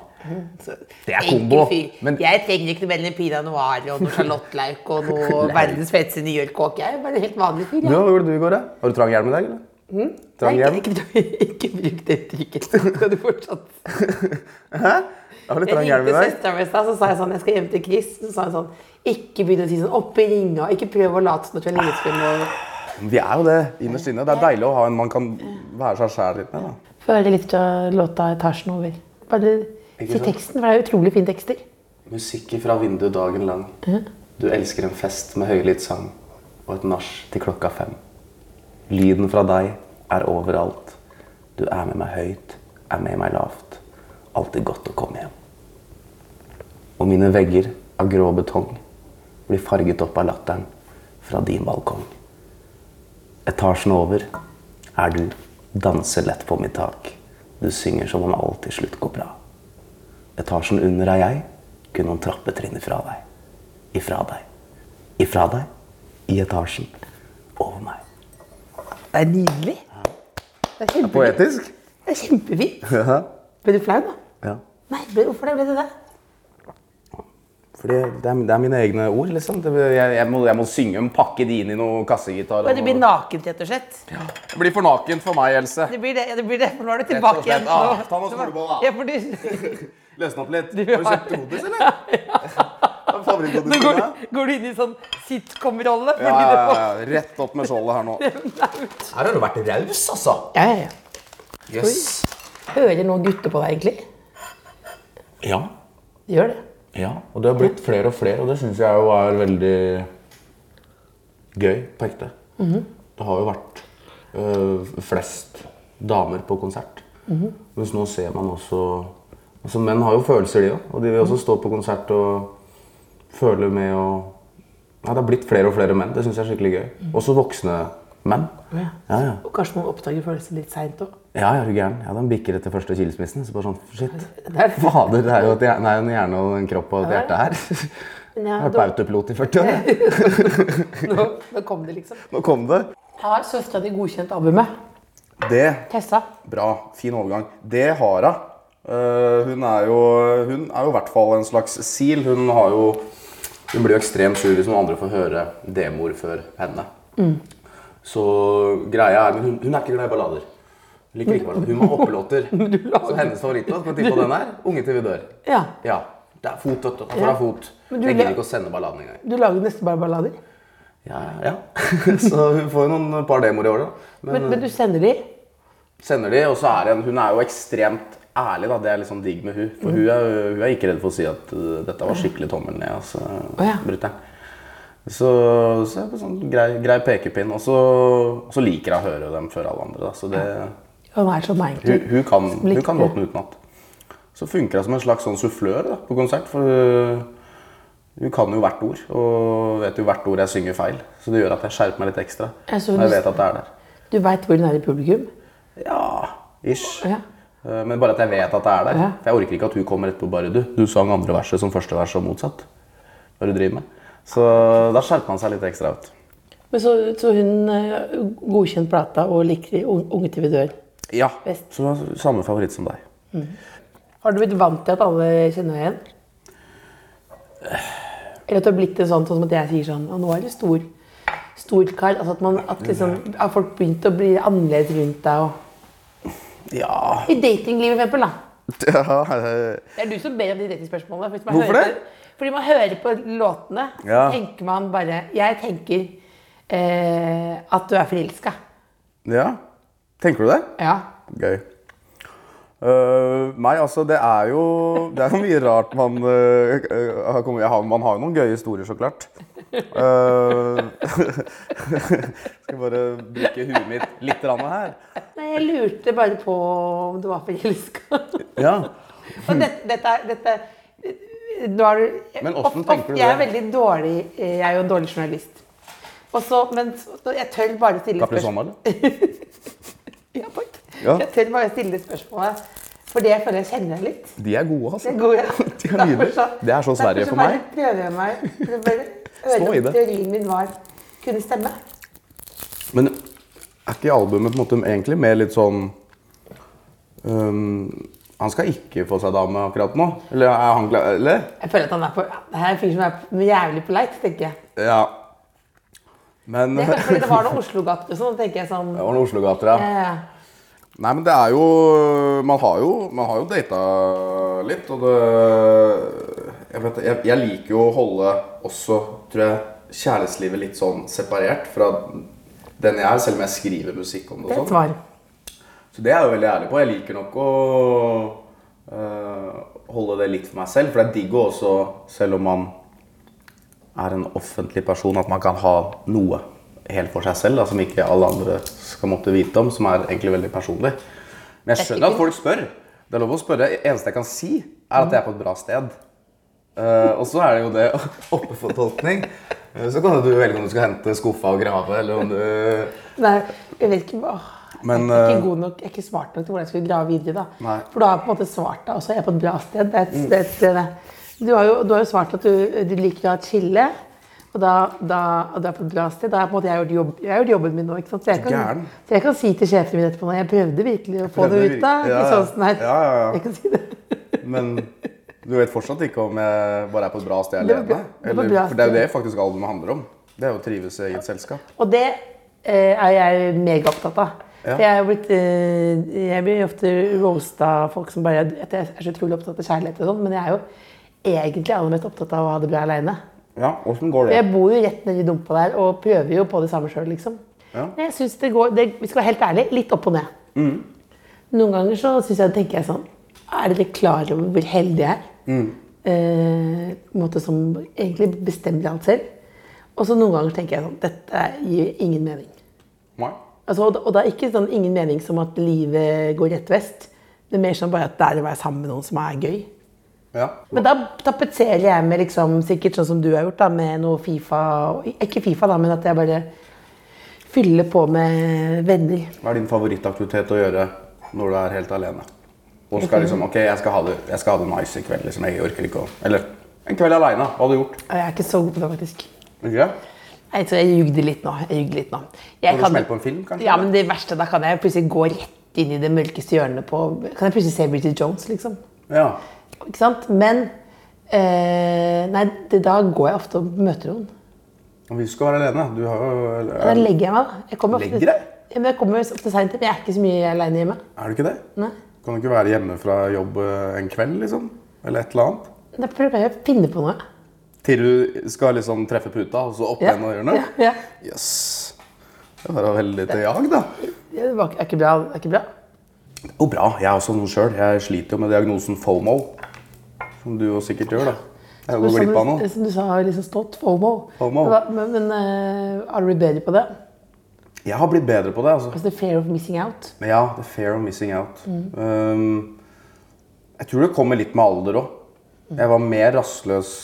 Speaker 3: Det er kombo. Men
Speaker 1: Jeg trenger ikke noe mellom pinot noir og noe sjalottløk og noe verdens feteste New York-kåk. Jeg er bare helt vanlig fyr.
Speaker 3: du, hva gjorde du i går, da? Har du trang hjelm i dag, eller? Trang hjelm?
Speaker 1: ikke, ikke bruk det uttrykket. Skal du fortsatt
Speaker 3: Har du
Speaker 1: Jeg
Speaker 3: trang hjelm i
Speaker 1: ringte
Speaker 3: dag?
Speaker 1: søsteren min i stad, så sa jeg sånn Jeg skal hjem til Chris. Så sa hun sånn Ikke begynn å si sånn oppe i ringa. Ikke prøv å late som at du er linjeskudd. og
Speaker 3: Vi er jo det innerst inne. Det er deilig å ha en man kan være seg sjæl litt med. da.
Speaker 1: Føre litt av låta 'Etasjen over'. Bare
Speaker 3: Ikke
Speaker 1: si
Speaker 3: sant?
Speaker 1: teksten, for det er utrolig fine tekster.
Speaker 3: Musikk fra vinduet dagen lang. Du elsker en fest med høylytt sang og et nach til klokka fem. Lyden fra deg er overalt. Du er med meg høyt, er med meg lavt. Alltid godt å komme hjem. Og mine vegger av grå betong blir farget opp av latteren fra din balkong. Etasjen over er du, danser lett på mitt tak. Du synger som om alt til slutt går bra. Etasjen sånn under er jeg, kun noen trappetrinn ifra deg. Ifra deg. Ifra deg. I etasjen. Over meg.
Speaker 1: Det er nydelig. Det er kjempefint.
Speaker 3: Poetisk?
Speaker 1: Det er kjempefint.
Speaker 3: Ja.
Speaker 1: Ble du flau, da?
Speaker 3: ja.
Speaker 1: Nei, ble, hvorfor det ble det det?
Speaker 3: Fordi det er, det er mine egne ord, liksom. Det, jeg, jeg, må, jeg må synge dem, pakke de inn i noe kassegitar.
Speaker 1: Ble det blir nakent, rett og slett.
Speaker 3: Det blir for nakent for meg, Else.
Speaker 1: Det blir det, ja, det blir det, for nå er du
Speaker 3: Rett og
Speaker 1: tilbake
Speaker 3: slett.
Speaker 1: igjen.
Speaker 3: Ah,
Speaker 1: Nå-
Speaker 3: ta noen
Speaker 1: nå var-
Speaker 3: skoleboller, da.
Speaker 1: Ja, for du,
Speaker 3: Løsne opp litt.
Speaker 1: Du har-
Speaker 3: godis, eller? Ja.
Speaker 1: nå går, du- går du inn i sånn sitcom-rolle. fordi
Speaker 3: Ja, ja,
Speaker 1: det
Speaker 3: ja,
Speaker 1: var-
Speaker 3: ja. Rett opp med skjoldet her nå. Her har du vært raus, altså.
Speaker 1: Ja, ja, ja.
Speaker 3: Yes.
Speaker 1: Hører noen gutter på deg, egentlig?
Speaker 3: Ja.
Speaker 1: De gjør det.
Speaker 3: Ja, og det har blitt flere og flere, og det syns jeg jo er veldig gøy på ekte.
Speaker 1: Mhm.
Speaker 3: Det har jo vært øh, flest damer på konsert.
Speaker 1: Mhm.
Speaker 3: Mens nå ser man også Altså, menn har jo følelser, de òg. Og de vil
Speaker 1: Mhm.
Speaker 3: også stå på konsert og føle med og Ja, det har blitt flere og flere menn. Det syns jeg er skikkelig gøy. Også voksne menn.
Speaker 1: Mhm. Ja.
Speaker 3: Ja, ja.
Speaker 1: Og kanskje man oppdager følelser litt seint òg.
Speaker 3: Ja, jeg er du gæren. Jeg hadde en bikker etter første kilesmissen. Så bare sånn, shit.
Speaker 1: Det er-
Speaker 3: Fader, det er jo et hjerne, nei, en hjerne og en kropp og et hjerte her.
Speaker 1: Men jeg
Speaker 3: Jeg har vært på autopilot i 40 år. jeg.
Speaker 1: nå, nå kom det, liksom.
Speaker 3: Nå kom det.
Speaker 1: Har søstera di godkjent albumet?
Speaker 3: Det
Speaker 1: Tessa?
Speaker 3: Bra. Fin overgang. Det har hun. Eh, hun er jo Hun er jo i hvert fall en slags sil. Hun har jo Hun blir jo ekstremt sur hvis noen andre får høre demoer før henne. Så greia er Men hun, hun er ikke glad i ballader. Hun liker ikke ballader. Hun må ha hoppelåter. Så hennes favorittlåt kan tippe på den her. 'Unge til vi dør'.
Speaker 1: Ja.
Speaker 3: Ja. Det er fot, vet du. Han får
Speaker 1: Ja.
Speaker 3: ha fot.
Speaker 1: Men
Speaker 3: Jeg
Speaker 1: du
Speaker 3: gidder
Speaker 1: le-
Speaker 3: ikke å sende balladen engang.
Speaker 1: Du lager nesten bare ballader.
Speaker 3: Ja, ja. Så hun får jo noen par demoer i året, da. Men- eh,
Speaker 1: Men, men du sender de?
Speaker 3: sender de, og så er det en, hun er jo ekstremt ærlig, da. Det er liksom digg med hun. For hun er, hun er ikke redd for å si at uh, dette var skikkelig tommel ned, altså.
Speaker 1: ja.
Speaker 3: Brutter'n. Så, så er det sånn grei, grei pekepinn. Og så, og så liker hun å høre dem før alle andre. Da. Så det,
Speaker 1: Han er som meg,
Speaker 3: hun,
Speaker 1: egentlig.
Speaker 3: hun, kan, hun
Speaker 1: likte.
Speaker 3: kan låten utenat. Så funker hun som en slags sånn sufflør da, på konsert. For hun, hun kan jo hvert ord, og vet jo hvert ord jeg synger feil. Så det gjør at jeg skjerper meg litt ekstra.
Speaker 1: Jeg så
Speaker 3: når
Speaker 1: lyst-
Speaker 3: jeg vet at det er der.
Speaker 1: Du veit hvor hun er i publikum?
Speaker 3: Ja, ish.
Speaker 1: Ja.
Speaker 3: Eh, Men bare at jeg vet at det er der.
Speaker 1: Ja.
Speaker 3: For Jeg orker ikke at hun kommer etterpå bare du. Du sang andre verset som første vers og motsatt. Hva er det du driver med. Så da skjerper man seg litt ekstra ut.
Speaker 1: Men så, så hun eh, godkjent plata og liker un- Unge til vi dør.
Speaker 3: Ja,
Speaker 1: Best.
Speaker 3: så hun har samme favoritt som deg.
Speaker 1: Har du blitt vant til at alle kjenner deg igjen? Eller at det har blitt det sånn, sånn som at jeg sier sånn Og nå er du stor. Stor kar. Altså at, man, at liksom, har folk begynt å bli annerledes rundt deg. Og...
Speaker 3: Ja,
Speaker 1: I datinglivet, for eksempel. Da.
Speaker 3: ja eh,
Speaker 1: Det er du som ber om de datingspørsmålene. Hvis man
Speaker 3: Hvorfor
Speaker 1: hører
Speaker 3: det?
Speaker 1: På, fordi man hører på låtene, så
Speaker 3: Ja.
Speaker 1: tenker man bare Jeg tenker eh, at du er forelska.
Speaker 3: ja. Tenker du det?
Speaker 1: Ja.
Speaker 3: Gøy. Eh, nei, altså, det er jo Det er jo mye rart man eh, eh, har kommet jeg har, Man har jo noen gøye historier, så klart. Eh, skal bare bruke huet mitt litt grann her.
Speaker 1: Nei, jeg lurte bare på om du var forelska.
Speaker 3: Ja.
Speaker 1: Og dette, dette, er- dette nå er du,
Speaker 3: Men hvordan
Speaker 1: ofte-
Speaker 3: tenker du
Speaker 1: ofte- Jeg er
Speaker 3: det?
Speaker 1: veldig dårlig eh, Jeg er jo en dårlig journalist. Og så, men så- jeg tør bare stille
Speaker 3: Capri Sonne, eller?
Speaker 1: Ja, takk.
Speaker 3: Ja.
Speaker 1: Jeg tør bare stille spørsmålet fordi jeg føler jeg kjenner deg litt.
Speaker 3: De er gode, altså.
Speaker 1: Det er god, ja.
Speaker 3: De er nydelige. Det er så Sverige for meg.
Speaker 1: Derfor så bare prøver jeg meg. for å bare
Speaker 3: Stå i
Speaker 1: Høre om
Speaker 3: det.
Speaker 1: teorien min var kunne stemme.
Speaker 3: Men er ikke albumet på en måte egentlig mer litt sånn øhm, Han skal ikke få seg dame akkurat nå? Eller er han glad Eller?
Speaker 1: Jeg føler at han er på, det her er en fyr som er jævlig polite, tenker jeg.
Speaker 3: Ja. Men
Speaker 1: Det er kanskje fordi
Speaker 3: Det
Speaker 1: det var noe Oslo-gater og sånn, tenker jeg sånn.
Speaker 3: var noen Oslo-gater, ja.
Speaker 1: eh,
Speaker 3: Nei, men det er jo Man har jo, man har jo data litt, og det jeg, vet, jeg, jeg liker jo å holde også, tror jeg, kjærlighetslivet litt sånn separert fra den jeg er, selv om jeg skriver musikk om det. og
Speaker 1: det er et
Speaker 3: sånn.
Speaker 1: svar.
Speaker 3: Så det er jeg jo veldig ærlig på. Jeg liker nok å øh, holde det litt for meg selv. For det er digg å også, selv om man er en offentlig person, at man kan ha noe helt for seg selv da, som ikke alle andre skal måtte vite om, som er egentlig veldig personlig. Men jeg skjønner at folk spør. Det er lov å spørre. Det eneste jeg kan si, er at jeg er på et bra sted. Eh, og så er det jo det oppefortolkning. Eh, Så kan du velge om du skal hente skuffa og grave, eller om du
Speaker 1: Nei, jeg vet ikke åh,
Speaker 3: Men,
Speaker 1: Jeg er
Speaker 3: eh,
Speaker 1: ikke god nok, jeg er ikke smart nok til hvordan jeg skulle grave videre. da.
Speaker 3: Nei.
Speaker 1: For du har på en måte svart deg også. Jeg er på et bra sted. Det er et, det er et sted det. Du, har jo, du har jo svart at du, du liker å ha et chille. Og da, da, og du er på et bra sted. Da har jeg på en måte jeg har gjort, jobb, jeg har gjort jobben min nå. ikke sant? Så jeg kan,
Speaker 3: Gæren.
Speaker 1: så jeg kan si til sjefen min etterpå når jeg prøvde virkelig å få
Speaker 3: Prøvde
Speaker 1: det ut. da.
Speaker 3: virkelig-
Speaker 1: Ikke
Speaker 3: ja, ja.
Speaker 1: sånn sånn her.
Speaker 3: Ja, ja, ja.
Speaker 1: Jeg kan si det.
Speaker 3: Men du vet fortsatt ikke om jeg bare er på et bra sted
Speaker 1: Det var
Speaker 3: alene?
Speaker 1: bra- det var
Speaker 3: Eller,
Speaker 1: bra
Speaker 3: for det er jo
Speaker 1: sted.
Speaker 3: det faktisk albumet handler om. Det er jo å trives i eget selskap.
Speaker 1: Og det eh, er jeg megaopptatt av.
Speaker 3: Ja.
Speaker 1: For Jeg, er jo blitt, eh, jeg blir ofte roasta av folk som bare at jeg er så utrolig opptatt av kjærlighet og sånn, men jeg er jo egentlig aller mest opptatt av å ha det bra aleine.
Speaker 3: Ja, åssen går det?
Speaker 1: Jeg bor jo rett nedi dumpa der og prøver jo på det samme sjøl, liksom.
Speaker 3: Ja.
Speaker 1: Men Jeg synes det går, det, Vi skal være helt ærlig, litt opp og ned. Noen ganger så synes jeg, tenker jeg sånn Er dere klar over hvor heldig jeg er? Eh, på en måte som egentlig bestemmer alt selv. Og så noen ganger tenker jeg sånn Dette gir ingen mening.
Speaker 3: Nei.
Speaker 1: Altså, og, og det er ikke sånn ingen mening som at livet går rett vest. Det er mer sånn bare at det er å være sammen med noen som er gøy.
Speaker 3: Ja.
Speaker 1: Men da tapetserer jeg med liksom, sikkert sånn som du har gjort, da, med noe Fifa og, Ikke Fifa, da, men at jeg bare fyller på med venner.
Speaker 3: Hva er din favorittaktivitet å gjøre når du er helt alene? Og skal liksom, ok, jeg skal ha det, jeg skal ha det nice i kveld. liksom, Jeg orker ikke å Eller En kveld aleine, hva hadde du gjort?
Speaker 1: Jeg er ikke så god på det, faktisk.
Speaker 3: Ikke det?
Speaker 1: Nei, så jeg jugde litt nå. Jeg jugde litt nå. Jeg
Speaker 3: Hadde du smelt på en film, kanskje?
Speaker 1: Ja, men det verste, da kan jeg plutselig gå rett inn i det mørkeste hjørnet på Kan jeg plutselig se Bridget Jones, liksom?
Speaker 3: Ja.
Speaker 1: Ikke sant? Men eh, Nei, det, da går jeg ofte og møter noen.
Speaker 3: Og vi skal være alene. Du har jo eller-
Speaker 1: Da legger jeg meg, da. Jeg kommer ofte,
Speaker 3: Legger deg?
Speaker 1: Ja, men jeg kommer ofte sent hjem. Jeg er ikke så mye aleine hjemme.
Speaker 3: Er du ikke det?
Speaker 1: Nei.
Speaker 3: Kan du ikke være hjemme fra jobb eh, en kveld, liksom? Eller et eller annet?
Speaker 1: Da prøver jeg å finne på noe.
Speaker 3: Til du skal liksom treffe puta, og så opp
Speaker 1: Ja.
Speaker 3: igjen og gjøre noe?
Speaker 1: Ja, ja.
Speaker 3: Yes. Det var da veldig til jag, da.
Speaker 1: Ja, Det var, er ikke bra. Er ikke bra.
Speaker 3: Jo, bra. Jeg er også noen sjøl. Jeg sliter jo med diagnosen FOMO. Som du jo sikkert gjør, da. Jeg går glipp av noe.
Speaker 1: Som du sa, liksom stått FOMO.
Speaker 3: FOMO.
Speaker 1: Det var- Men, men eh, har du blitt bedre på det?
Speaker 3: Jeg har blitt bedre på det. altså.
Speaker 1: Altså, the fear of missing out.
Speaker 3: Men ja, the fear of missing out.
Speaker 1: Mm.
Speaker 3: Um, jeg tror det kommer litt med alder òg. Jeg var mer rastløs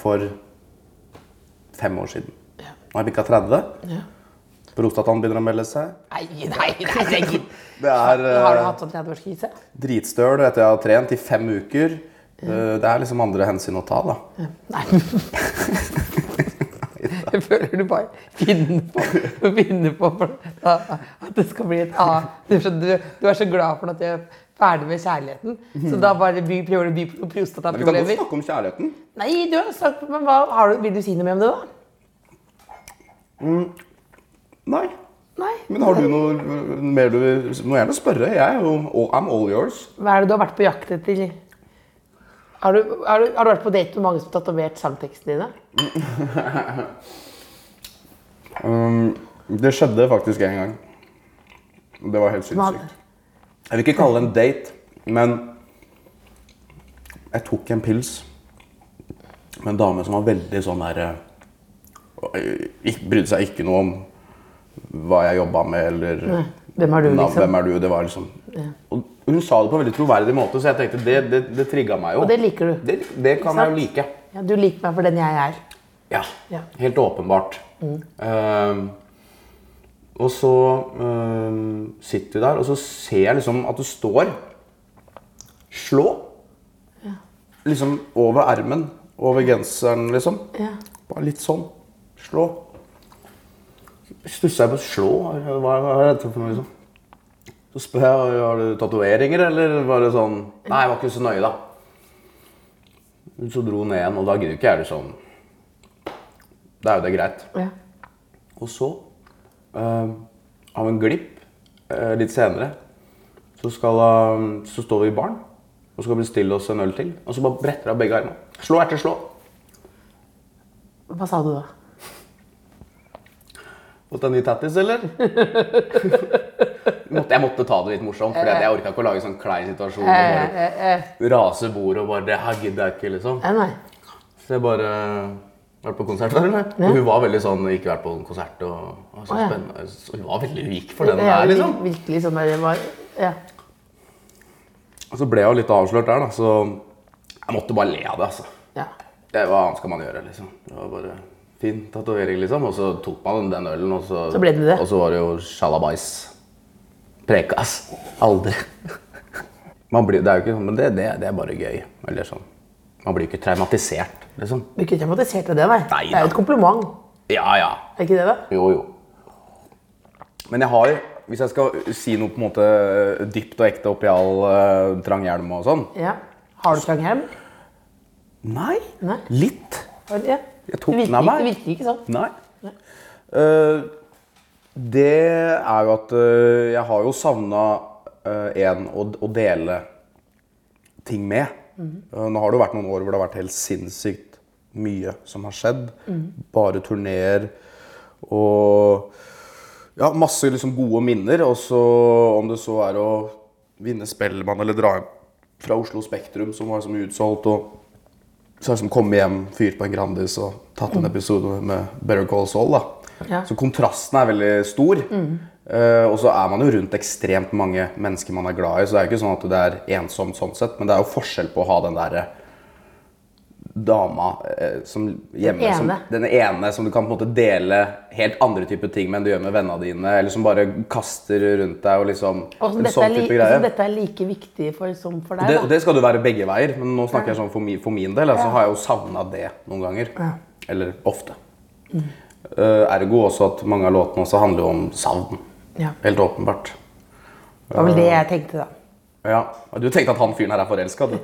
Speaker 3: for fem år siden. Nå har jeg bikka 30. Prostataen begynner å melde seg.
Speaker 1: Nei, nei, nei, det gidder
Speaker 3: Det er
Speaker 1: Har du
Speaker 3: eh,
Speaker 1: hatt sånn 30-årskrise?
Speaker 3: dritstøl etter jeg har trent i fem uker. Eh, Det er liksom andre hensyn å ta, da.
Speaker 1: Nei. Jeg føler du bare finner på, finner på for- da, at det skal bli et annet du, skjønner, du, du er så glad for at jeg er ferdig med kjærligheten, så da bare by, prøver du å by på noen
Speaker 3: Men Mhm. vi kan godt
Speaker 1: prostataproblemer.
Speaker 3: snakke om kjærligheten.
Speaker 1: Nei, du har sagt, men hva, har du, vil du si noe mer om det, da?
Speaker 3: Nei.
Speaker 1: Nei.
Speaker 3: Men har du noe mer du vil Må gjerne spørre. Jeg er jo all- I'm all yours.
Speaker 1: Hva er det du har vært på jakt etter? Har du, har, du, har du vært på date med mange som har tatovert sangtekstene dine?
Speaker 3: Um, det skjedde faktisk en gang. Det var helt
Speaker 1: Hva-
Speaker 3: sinnssykt. Jeg vil ikke kalle det en date, men jeg tok en pils med en dame som var veldig sånn der eh, ikk- Brydde seg ikke noe om hva jeg jobba med, eller
Speaker 1: Hvem er du,
Speaker 3: nav-
Speaker 1: liksom?
Speaker 3: hvem er du? Det var liksom Og hun sa det på en veldig troverdig måte, så jeg tenkte det, det, det trigga meg jo.
Speaker 1: Og det liker du.
Speaker 3: Det, det kan jeg
Speaker 1: sant?
Speaker 3: jo like.
Speaker 1: Ja, du liker meg for den jeg er.
Speaker 3: Ja,
Speaker 1: Ja.
Speaker 3: helt åpenbart. Ehm, og så ehm, sitter vi der, og så ser jeg liksom at du står Slå. Liksom over ermen, over genseren, liksom.
Speaker 1: Ja.
Speaker 3: Bare litt sånn. Slå. Stussa jeg på slå? Hva hva er dette for noe, liksom? Så spør jeg har du tatoveringer, eller var det sånn Nei, jeg var ikke så nøye, da. Så dro hun ned igjen, og da gidder ikke jeg liksom Da er jo det greit.
Speaker 1: Ja.
Speaker 3: Og så, eh, av en glipp eh, litt senere, så, skal, eh, så står vi i baren og skal bestille oss en øl til. Og så bare bretter jeg av begge armene. Slå etter slå.
Speaker 1: Hva sa du da?
Speaker 3: Fått deg ny tattis, eller? måtte, jeg måtte ta det litt morsomt, for jeg orka ikke å lage en sånn klein situasjon. Og
Speaker 1: Eh, eh, eh.
Speaker 3: bare rase bordet og bare Det her gidder jeg ikke, liksom.
Speaker 1: Nei, nei.
Speaker 3: Så jeg bare vært på konsert der, eller? Og hun var veldig sånn Ikke vært på en konsert og, og så
Speaker 1: Å, ja.
Speaker 3: spennende. Så hun var veldig unik for den
Speaker 1: Det er
Speaker 3: der,
Speaker 1: jo
Speaker 3: liksom.
Speaker 1: vir- Virkelig sånn der, det var, ja.
Speaker 3: Og liksom. så ble jeg jo litt avslørt der, da, så jeg måtte bare le av det, altså.
Speaker 1: ja.
Speaker 3: Det, hva annet skal man gjøre, liksom? Det var bare fin tatovering, liksom. Og så tok man den ølen, og så
Speaker 1: Så ble det det.
Speaker 3: Og så var det jo sjalabais. Prekas. Aldri. Man blir, det er jo ikke sånn, men det, det, det er bare gøy. Eller sånn. Man blir jo ikke traumatisert, liksom.
Speaker 1: Du er ikke traumatisert av det, nei.
Speaker 3: Nei,
Speaker 1: det er jo et
Speaker 3: da.
Speaker 1: kompliment.
Speaker 3: Ja, ja.
Speaker 1: Er ikke det, da?
Speaker 3: Jo, jo. Men jeg har, hvis jeg skal si noe på en måte dypt og ekte oppi all eh, trang hjelm og sånn
Speaker 1: Ja. Har du trang hjem?
Speaker 3: Nei.
Speaker 1: Nei.
Speaker 3: Litt.
Speaker 1: Ja.
Speaker 3: Jeg tok
Speaker 1: Det virker
Speaker 3: den av
Speaker 1: ikke-
Speaker 3: meg.
Speaker 1: Det virker ikke sånn.
Speaker 3: Nei. Eh, det er jo at eh, jeg har jo savna en å, å dele ting med. Eh, nå har det jo vært noen år hvor det har vært helt sinnssykt mye som har skjedd. Bare turneer og ja, masse liksom gode minner. Og så om det så er å vinne Spellemann eller dra hjem fra Oslo Spektrum, som var liksom utsolgt. og så har jeg liksom kommet hjem, fyrt på en Grandis og tatt en episode med Better Call Saul. Da.
Speaker 1: Ja.
Speaker 3: Så kontrasten er veldig stor. Eh, og så er man jo rundt ekstremt mange mennesker man er glad i, så det er jo ikke sånn at det er ensomt sånn sett, men det er jo forskjell på å ha den derre dama eh, som hjemme
Speaker 1: Den ene.
Speaker 3: Som, den ene som du kan på en måte dele helt andre typer ting med enn du gjør med vennene dine, eller som bare kaster rundt deg og liksom
Speaker 1: Og som
Speaker 3: en
Speaker 1: dette, er
Speaker 3: sånn
Speaker 1: li
Speaker 3: type
Speaker 1: og
Speaker 3: greie.
Speaker 1: som dette er like viktig for, som for
Speaker 3: Det,
Speaker 1: deg,
Speaker 3: og
Speaker 1: da.
Speaker 3: det skal det jo være begge veier, men nå snakker jeg sånn for min, for min del. Så har jeg jo savna det noen ganger. Eller ofte.
Speaker 1: Mm.
Speaker 3: Eh, ergo også at mange av låtene også handler jo om savn.
Speaker 1: Ja.
Speaker 3: Helt åpenbart.
Speaker 1: Det var vel det jeg tenkte, da.
Speaker 3: Ja. Du tenkte at han fyren her er forelska, du?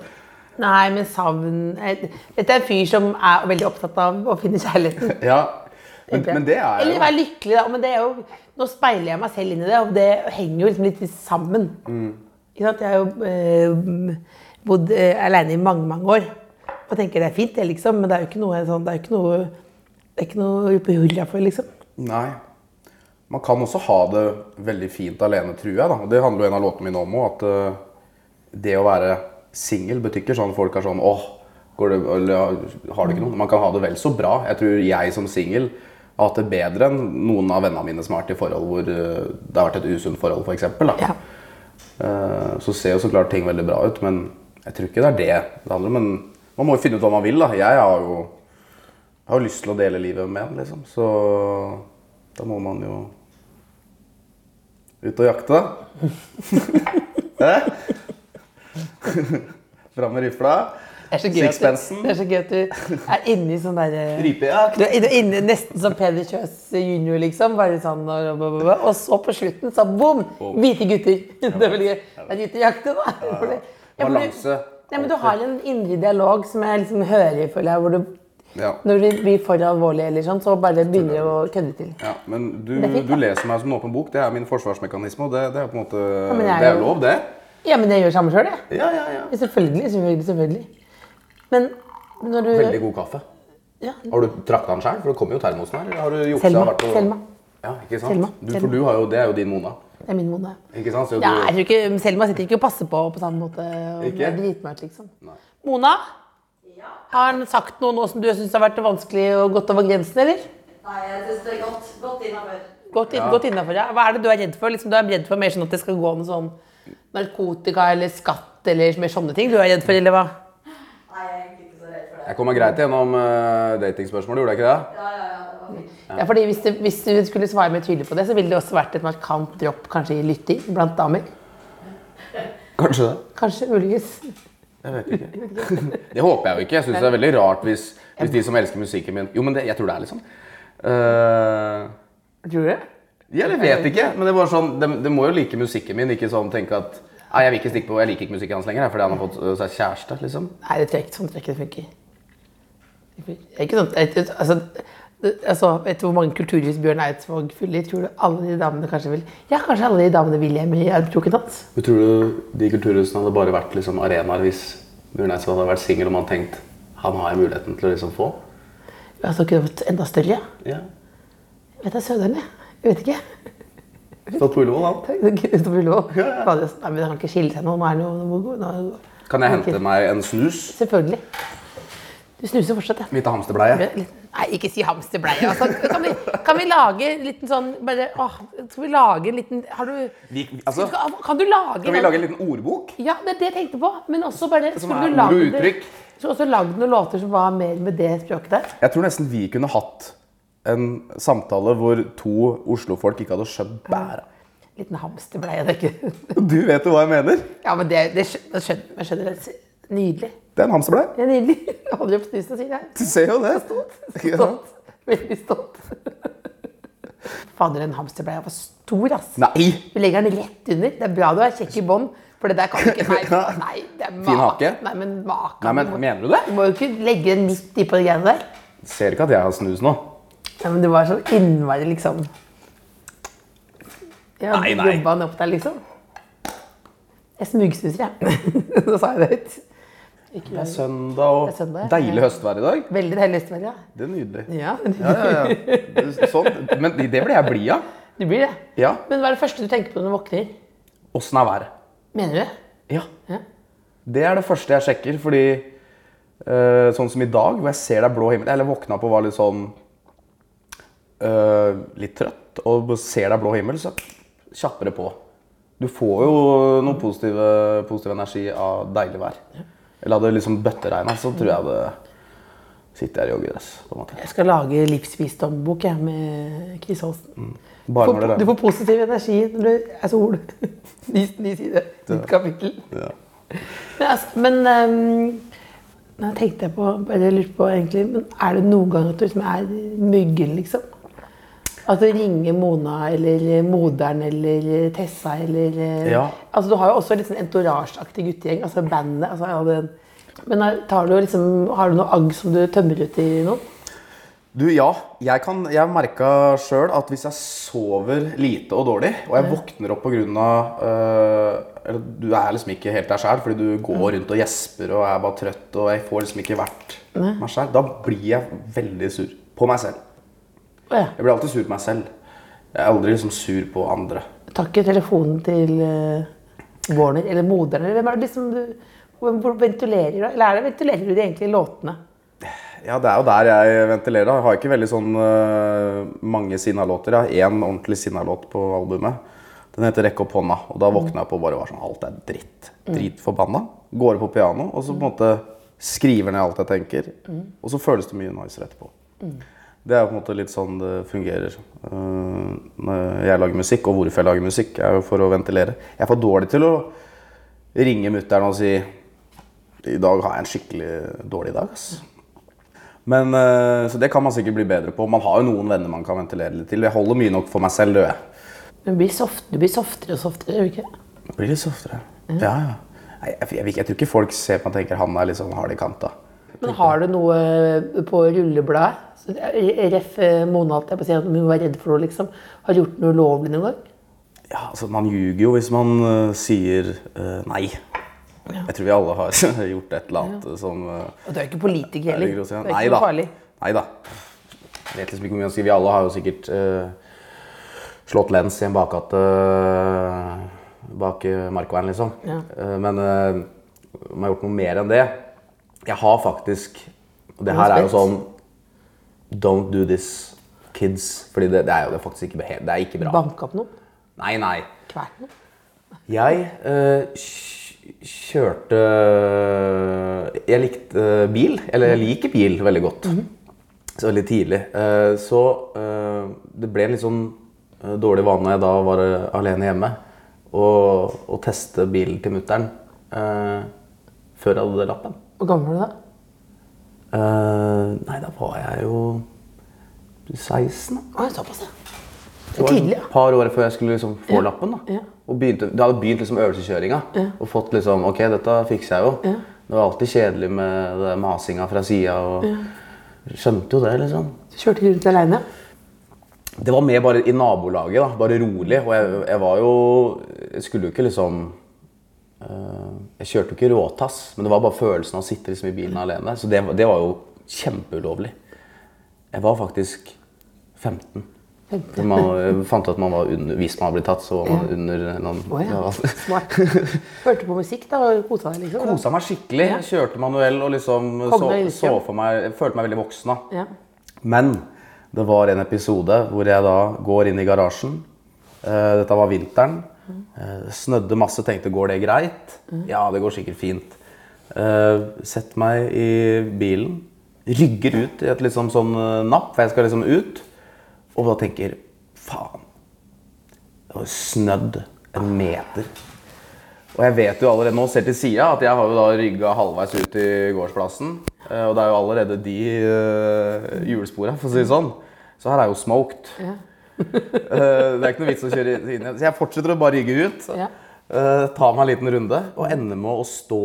Speaker 1: Nei, men savn eh, Dette er en fyr som er veldig opptatt av å finne kjærligheten.
Speaker 3: Ja. Men, men det er
Speaker 1: Eller
Speaker 3: jo
Speaker 1: være lykkelig, da. Men det er jo, nå speiler jeg meg selv inn i det, og det henger jo liksom litt sammen.
Speaker 3: Mm.
Speaker 1: Ikke sant? Jeg har jo eh, bodd eh, aleine i mange, mange år. Og tenker det er fint, det, liksom, men det er jo ikke noe jeg sånn, det er jo ikke noe det er ikke noe å rope hurra for, liksom.
Speaker 3: Nei. Man kan også ha det veldig fint alene, tror jeg. da. Det handler jo en av låtene mine om òg, at eh, det å være singel betyr ikke sånn at folk er sånn åh, går det, eller, har du ikke noe? Man kan ha det vel så bra. Jeg tror jeg som singel har hatt det bedre enn noen av vennene mine som har vært i forhold hvor eh, det har vært et usunt forhold, f.eks. eksempel
Speaker 1: Ja.
Speaker 3: da. Eh, Så ser jo så klart ting veldig bra ut, men jeg tror ikke det er det det handler om. Men man må jo finne ut hva man vil, da. Jeg har jo, jeg har jo lyst til å dele livet med en, liksom. Så da må man jo ut og jakte. Hæ? Fram med rifla.
Speaker 1: Det er så gøy at du,
Speaker 3: Sixpensen.
Speaker 1: det er så gøy at du er inni sånn derre
Speaker 3: Rypejakt.
Speaker 1: Du er inne- inne nesten som Peder Kjøs junior, liksom. Bare sånn, og, og, og, og så på slutten, så bom! Hvite gutter. Det er veldig gøy. Det er guttejakt, da. For det- Ja, men du-
Speaker 3: Balanse.
Speaker 1: Ja, men du har en indre dialog som jeg liksom hører, føler jeg. Hvor du,
Speaker 3: Ja.
Speaker 1: når du blir for alvorlig, eller sånn, så bare begynner du å kødde til.
Speaker 3: Ja, men du,
Speaker 1: Det er fint,
Speaker 3: du
Speaker 1: da.
Speaker 3: leser meg som en åpen bok. Det er min forsvarsmekanisme, og det, det er på en måte
Speaker 1: men jeg er
Speaker 3: Det er
Speaker 1: jo-
Speaker 3: lov, det.
Speaker 1: Ja, men jeg gjør samme sjøl, jeg.
Speaker 3: Ja, ja, ja.
Speaker 1: Selvfølgelig, selvfølgelig, selvfølgelig. Men når du
Speaker 3: Veldig god kaffe.
Speaker 1: Ja.
Speaker 3: Har du trakta den sjøl? For det kommer jo termosen her. Eller har du juksa?
Speaker 1: Selma.
Speaker 3: vært og-
Speaker 1: Selma.
Speaker 3: Ja, ikke sant?
Speaker 1: Selma.
Speaker 3: Du, for
Speaker 1: Selma.
Speaker 3: du har jo, det er jo din Mona.
Speaker 1: Det er min mone.
Speaker 3: Ikke sant? Så
Speaker 1: Ja,
Speaker 3: du,
Speaker 1: jeg tror ikke, Selma sitter ikke og passer på på samme måte. Og
Speaker 3: Ikke?
Speaker 1: ikke? Dritmert, liksom. Mona, har han sagt noe nå som du syns har vært vanskelig og gått over grensen, eller?
Speaker 4: Nei, jeg syns det er godt. Godt innover.
Speaker 1: Godt, inn, godt innenfor, ja. Hva er det du er redd for? Liksom, du er redd for mer sånn at det skal gå med sånn narkotika eller skatt eller mer sånne ting du er redd for, eller hva?
Speaker 4: Nei, jeg er egentlig ikke så redd for det.
Speaker 3: Jeg kom meg greit gjennom eh, datingspørsmålet, gjorde jeg ikke det?
Speaker 4: Ja, ja, ja, det var fint.
Speaker 1: Ja, fordi hvis, det, hvis du skulle svare mer tydelig på det, så ville det også vært et markant dropp kanskje i lytting blant damer.
Speaker 3: Kanskje det.
Speaker 1: Kanskje, muligens.
Speaker 3: Det håper jeg jo ikke. Jeg syns det er veldig rart hvis, hvis de som elsker musikken min Jo, men det, jeg tror det er litt sånn. Eh,
Speaker 1: Tror du det?
Speaker 3: ja, jeg vet ikke, men det var sånn, de, de må jo like musikken min. Ikke sånn tenke at Nei, jeg vil ikke stikke på, jeg liker ikke musikken hans lenger jeg, fordi han har fått øh, seg kjæreste. liksom.
Speaker 1: Nei, det tror jeg ikke, sånn tror jeg ikke det funker. Det er ikke sånn, jeg, jeg- altså, det- altså, vet du hvor mange kulturhus Bjørn Eidsvåg fyller? Tror du alle de damene kanskje vil Ja, kanskje alle de damene vil hjem i armkroken hans?
Speaker 3: Men tror du de kulturhusene hadde bare vært liksom, arenaer hvis Bjørn Eidsvåg hadde vært singel og man tenkt han har jeg muligheten til å liksom få?
Speaker 1: Altså, kunne det vært enda større? ja?
Speaker 3: Ja.
Speaker 1: Vet du, søderen, jeg. Jeg vet ikke.
Speaker 3: Stått på Ullevål, han.
Speaker 1: Utenfor Ullevål. Fader, Nei, men han kan ikke skille seg nå. Nå er han jo nå må- nå-
Speaker 3: Kan jeg hente meg en snus?
Speaker 1: Selvfølgelig. Du snuser fortsatt, ja.
Speaker 3: Mitt hamsterbleie.
Speaker 1: Nei, ikke si hamsterbleie. Altså, kan, vi, kan vi lage en liten sånn bare, åh, Skal vi lage en liten Har du
Speaker 3: Vi- altså-
Speaker 1: skal, Kan du lage
Speaker 3: Skal vi lage en liten ordbok?
Speaker 1: Ja, det er det jeg tenkte på. Men også bare
Speaker 3: Som
Speaker 1: skulle du
Speaker 3: er ord og
Speaker 1: lagd-
Speaker 3: uttrykk.
Speaker 1: Skulle også lagd noen låter som var mer med det språket der.
Speaker 3: Jeg tror nesten vi kunne hatt en samtale hvor to oslofolk ikke hadde skjønt bæra.
Speaker 1: Liten hamsterbleie. Det er ikke
Speaker 3: Du vet jo hva jeg mener?
Speaker 1: Ja, men det, det skjø- jeg skjønner jeg. Skjønner, det. Nydelig.
Speaker 3: Det er en hamsterbleie.
Speaker 1: Det er nydelig. Jeg holder opp snusen og sier det.
Speaker 3: Du ser jo det. Ja.
Speaker 1: Stolt. Veldig stolt. Fader, den hamsterbleia var stor, ass.
Speaker 3: Nei!
Speaker 1: Du legger den rett under. Det er bra du er kjekk i bånd, for det der kan du ikke Nei,
Speaker 3: Ja.
Speaker 1: nei det er
Speaker 3: Fin hake.
Speaker 1: Nei, men maken.
Speaker 3: Nei, men
Speaker 1: Du må-
Speaker 3: Mener du det?
Speaker 1: Du må jo ikke legge den midt i på de greiene der.
Speaker 3: Ser ikke at jeg har snus nå.
Speaker 1: Ja, men det var så innmari liksom Ja,
Speaker 3: Nei, nei.
Speaker 1: Jobba han opp der, liksom? Jeg smugsnuser, jeg. Nå sa jeg det høyt. Ikke
Speaker 3: Det er
Speaker 1: lov.
Speaker 3: søndag
Speaker 1: Det er søndag, ja.
Speaker 3: og deilig høstvær i dag.
Speaker 1: Veldig deilig høstvær, ja.
Speaker 3: Det er nydelig.
Speaker 1: ja.
Speaker 3: Ja, ja, ja. Sånn. Men det ble jeg blid av.
Speaker 1: Du blir det.
Speaker 3: Ja.
Speaker 1: Men hva er det første du tenker på når du våkner?
Speaker 3: Åssen er været?
Speaker 1: Mener du det?
Speaker 3: Ja.
Speaker 1: Ja.
Speaker 3: Det er det første jeg sjekker, fordi eh, sånn som i dag, hvor jeg ser det er blå himmel Eller våkna opp og var litt sånn eh, Litt trøtt, og ser det er blå himmel, så kjapper det på. Du får jo noe positive, positiv energi av deilig vær. Eller hadde det liksom bøtteregna, så tror jeg det sitter jeg i joggedress, på en måte.
Speaker 1: Jeg skal lage livsvisdombok jeg, med Chris Holsten.
Speaker 3: Mm. Bare når det
Speaker 1: Du
Speaker 3: regner.
Speaker 1: får positiv energi når du er sol. Ny, ny side. Nytt kapittel.
Speaker 3: Ja.
Speaker 1: Men, altså, men ehm, nå tenkte jeg på, eller lurte på egentlig, men er det noen gang at du liksom er myggen, liksom? At du ringer Mona eller moderen eller Tessa eller eh,
Speaker 3: Ja.
Speaker 1: Altså du har jo også litt sånn entourage-aktig guttegjeng, altså bandet. Altså, ja, det, men er- tar du liksom, har du noe agg som du tømmer ut i noen?
Speaker 3: Du, ja. Jeg, kan, jeg merka sjøl at hvis jeg sover lite og dårlig, og jeg våkner opp pga. Øh, eller du er liksom ikke helt deg sjæl, fordi du går rundt og gjesper og er bare trøtt, og jeg får liksom ikke vært meg sjæl, da blir jeg veldig sur på meg selv.
Speaker 1: Å ja.
Speaker 3: Jeg blir alltid sur på meg selv. Jeg er aldri liksom sur på andre.
Speaker 1: Tar ikke telefonen til eh, Warner eller moderen, eller hvem er det liksom du hvor ventilerer du? Eller er det ventilerer du det egentlig i låtene?
Speaker 3: Ja, det er jo der jeg ventilerer. da. Jeg har ikke veldig sånn øh, mange sinnalåter. Jeg har én ordentlig sinnalåt på albumet. Den heter 'Rekk opp hånda'. Og da våkna jeg på og bare var sånn Alt er dritt. Dritforbanna. Går på piano, og så på en måte skriver ned alt jeg tenker. Og så føles det mye nicer etterpå. Det er på en måte litt sånn det fungerer. øh, når jeg lager musikk, og hvorfor jeg lager musikk, er jo for å ventilere. Jeg er for dårlig til å ringe mutter'n og si 'I dag har jeg en skikkelig dårlig dag', ass. Men, eh, så det kan man sikkert bli bedre på. Man har jo noen venner man kan ventilere litt til. Jeg holder mye nok for meg selv, gjør jeg.
Speaker 1: Men Du blir, soft, du blir softere og softere, gjør du ikke? det?
Speaker 3: Det blir litt softere. Ja, ja. Nei, jeg, jeg, jeg tror ikke folk ser på meg og tenker han er litt sånn hard i kanta.
Speaker 1: Men har du noe eh, på rullebladet? Så, eh, Ref eh, Mona, at jeg på å si at hun var redd for noe, liksom. Har gjort noe ulovlig noen gang?
Speaker 3: Ja, altså Man ljuger jo hvis man eh, sier eh, nei. Jeg tror vi alle har gjort et eller annet som eh,
Speaker 1: Og du er jo ikke politiker
Speaker 3: er
Speaker 1: heller.
Speaker 3: litt grovt å si.
Speaker 1: Det er
Speaker 3: Nei
Speaker 1: ikke
Speaker 3: da.
Speaker 1: noe farlig.
Speaker 3: Nei da. Jeg vet liksom ikke hvor mye jeg skal- Vi alle har jo sikkert eh, slått lens i en bakgate eh, bak eh, markveien, liksom.
Speaker 1: Ja.
Speaker 3: Eh, men eh, om jeg har gjort noe mer enn det Jeg har faktisk Og det her er jo
Speaker 1: Respekt.
Speaker 3: sånn Don't do this, kids. Fordi det, det er jo det er faktisk ikke, behe- det er ikke bra.
Speaker 1: Banka opp noe?
Speaker 3: Nei, nei.
Speaker 1: Kvert noe?
Speaker 3: Jeg eh, kj- kjørte Jeg likte eh, bil, eller jeg liker bil veldig godt. Så veldig tidlig. Eh, så eh, det ble en litt sånn eh, dårlig vane når jeg da var eh, alene hjemme, å å teste bilen til mutter'n eh, før jeg hadde lappen.
Speaker 1: Hvor gammel er du da?
Speaker 3: Eh, nei, da var jeg jo 16. da.
Speaker 1: Å, såpass, ja.
Speaker 3: Det var
Speaker 1: Tidlig, ja.
Speaker 3: et par år før jeg skulle liksom få lappen. da.
Speaker 1: ja.
Speaker 3: Og begynte, Du hadde begynt liksom øvelseskjøringa og fått liksom Ok, dette fikser jeg jo. Det var alltid kjedelig med det der masinga fra sida og Skjønte jo det, liksom.
Speaker 1: Du kjørte ikke rundt aleine?
Speaker 3: Det var mer bare i nabolaget, da. Bare rolig. Og jeg, jeg var jo Jeg skulle jo ikke liksom eh, Jeg kjørte jo ikke råtass, men det var bare følelsen av å sitte liksom i bilen alene. Så det, det var jo kjempeulovlig. Jeg var faktisk 15. For Man eh, fant ut at man var under, hvis man hadde blitt tatt, så var man
Speaker 1: Ja.
Speaker 3: under noen
Speaker 1: Å ja.
Speaker 3: ja.
Speaker 1: Smart. Hørte på musikk da og kosa deg, liksom?
Speaker 3: Kosa meg skikkelig. Jeg Kjørte manuell og liksom
Speaker 1: Kom
Speaker 3: så,
Speaker 1: deg i
Speaker 3: så
Speaker 1: yrket.
Speaker 3: for meg jeg Følte meg veldig voksen. da.
Speaker 1: Ja.
Speaker 3: Men det var en episode hvor jeg da går inn i garasjen. Eh, dette var vinteren. Eh, det snødde masse, tenkte går det greit?
Speaker 1: Mm.
Speaker 3: Ja, det går sikkert fint. Eh, sett meg i bilen, rygger ut i et liksom sånn eh, napp, for jeg skal liksom ut. Og da tenker faen. Det var snødd en meter. Og jeg vet jo allerede nå, selv til sida, at jeg har jo da rygga halvveis ut i gårdsplassen. Eh, Og det er jo allerede de uh, hjulspora, for å si det sånn. Så her er jo smoked. Eh, det er ikke noe vits å kjøre inn igjen. Så jeg fortsetter å bare rygge ut.
Speaker 1: Ja.
Speaker 3: eh, ta meg en liten runde og ender med å stå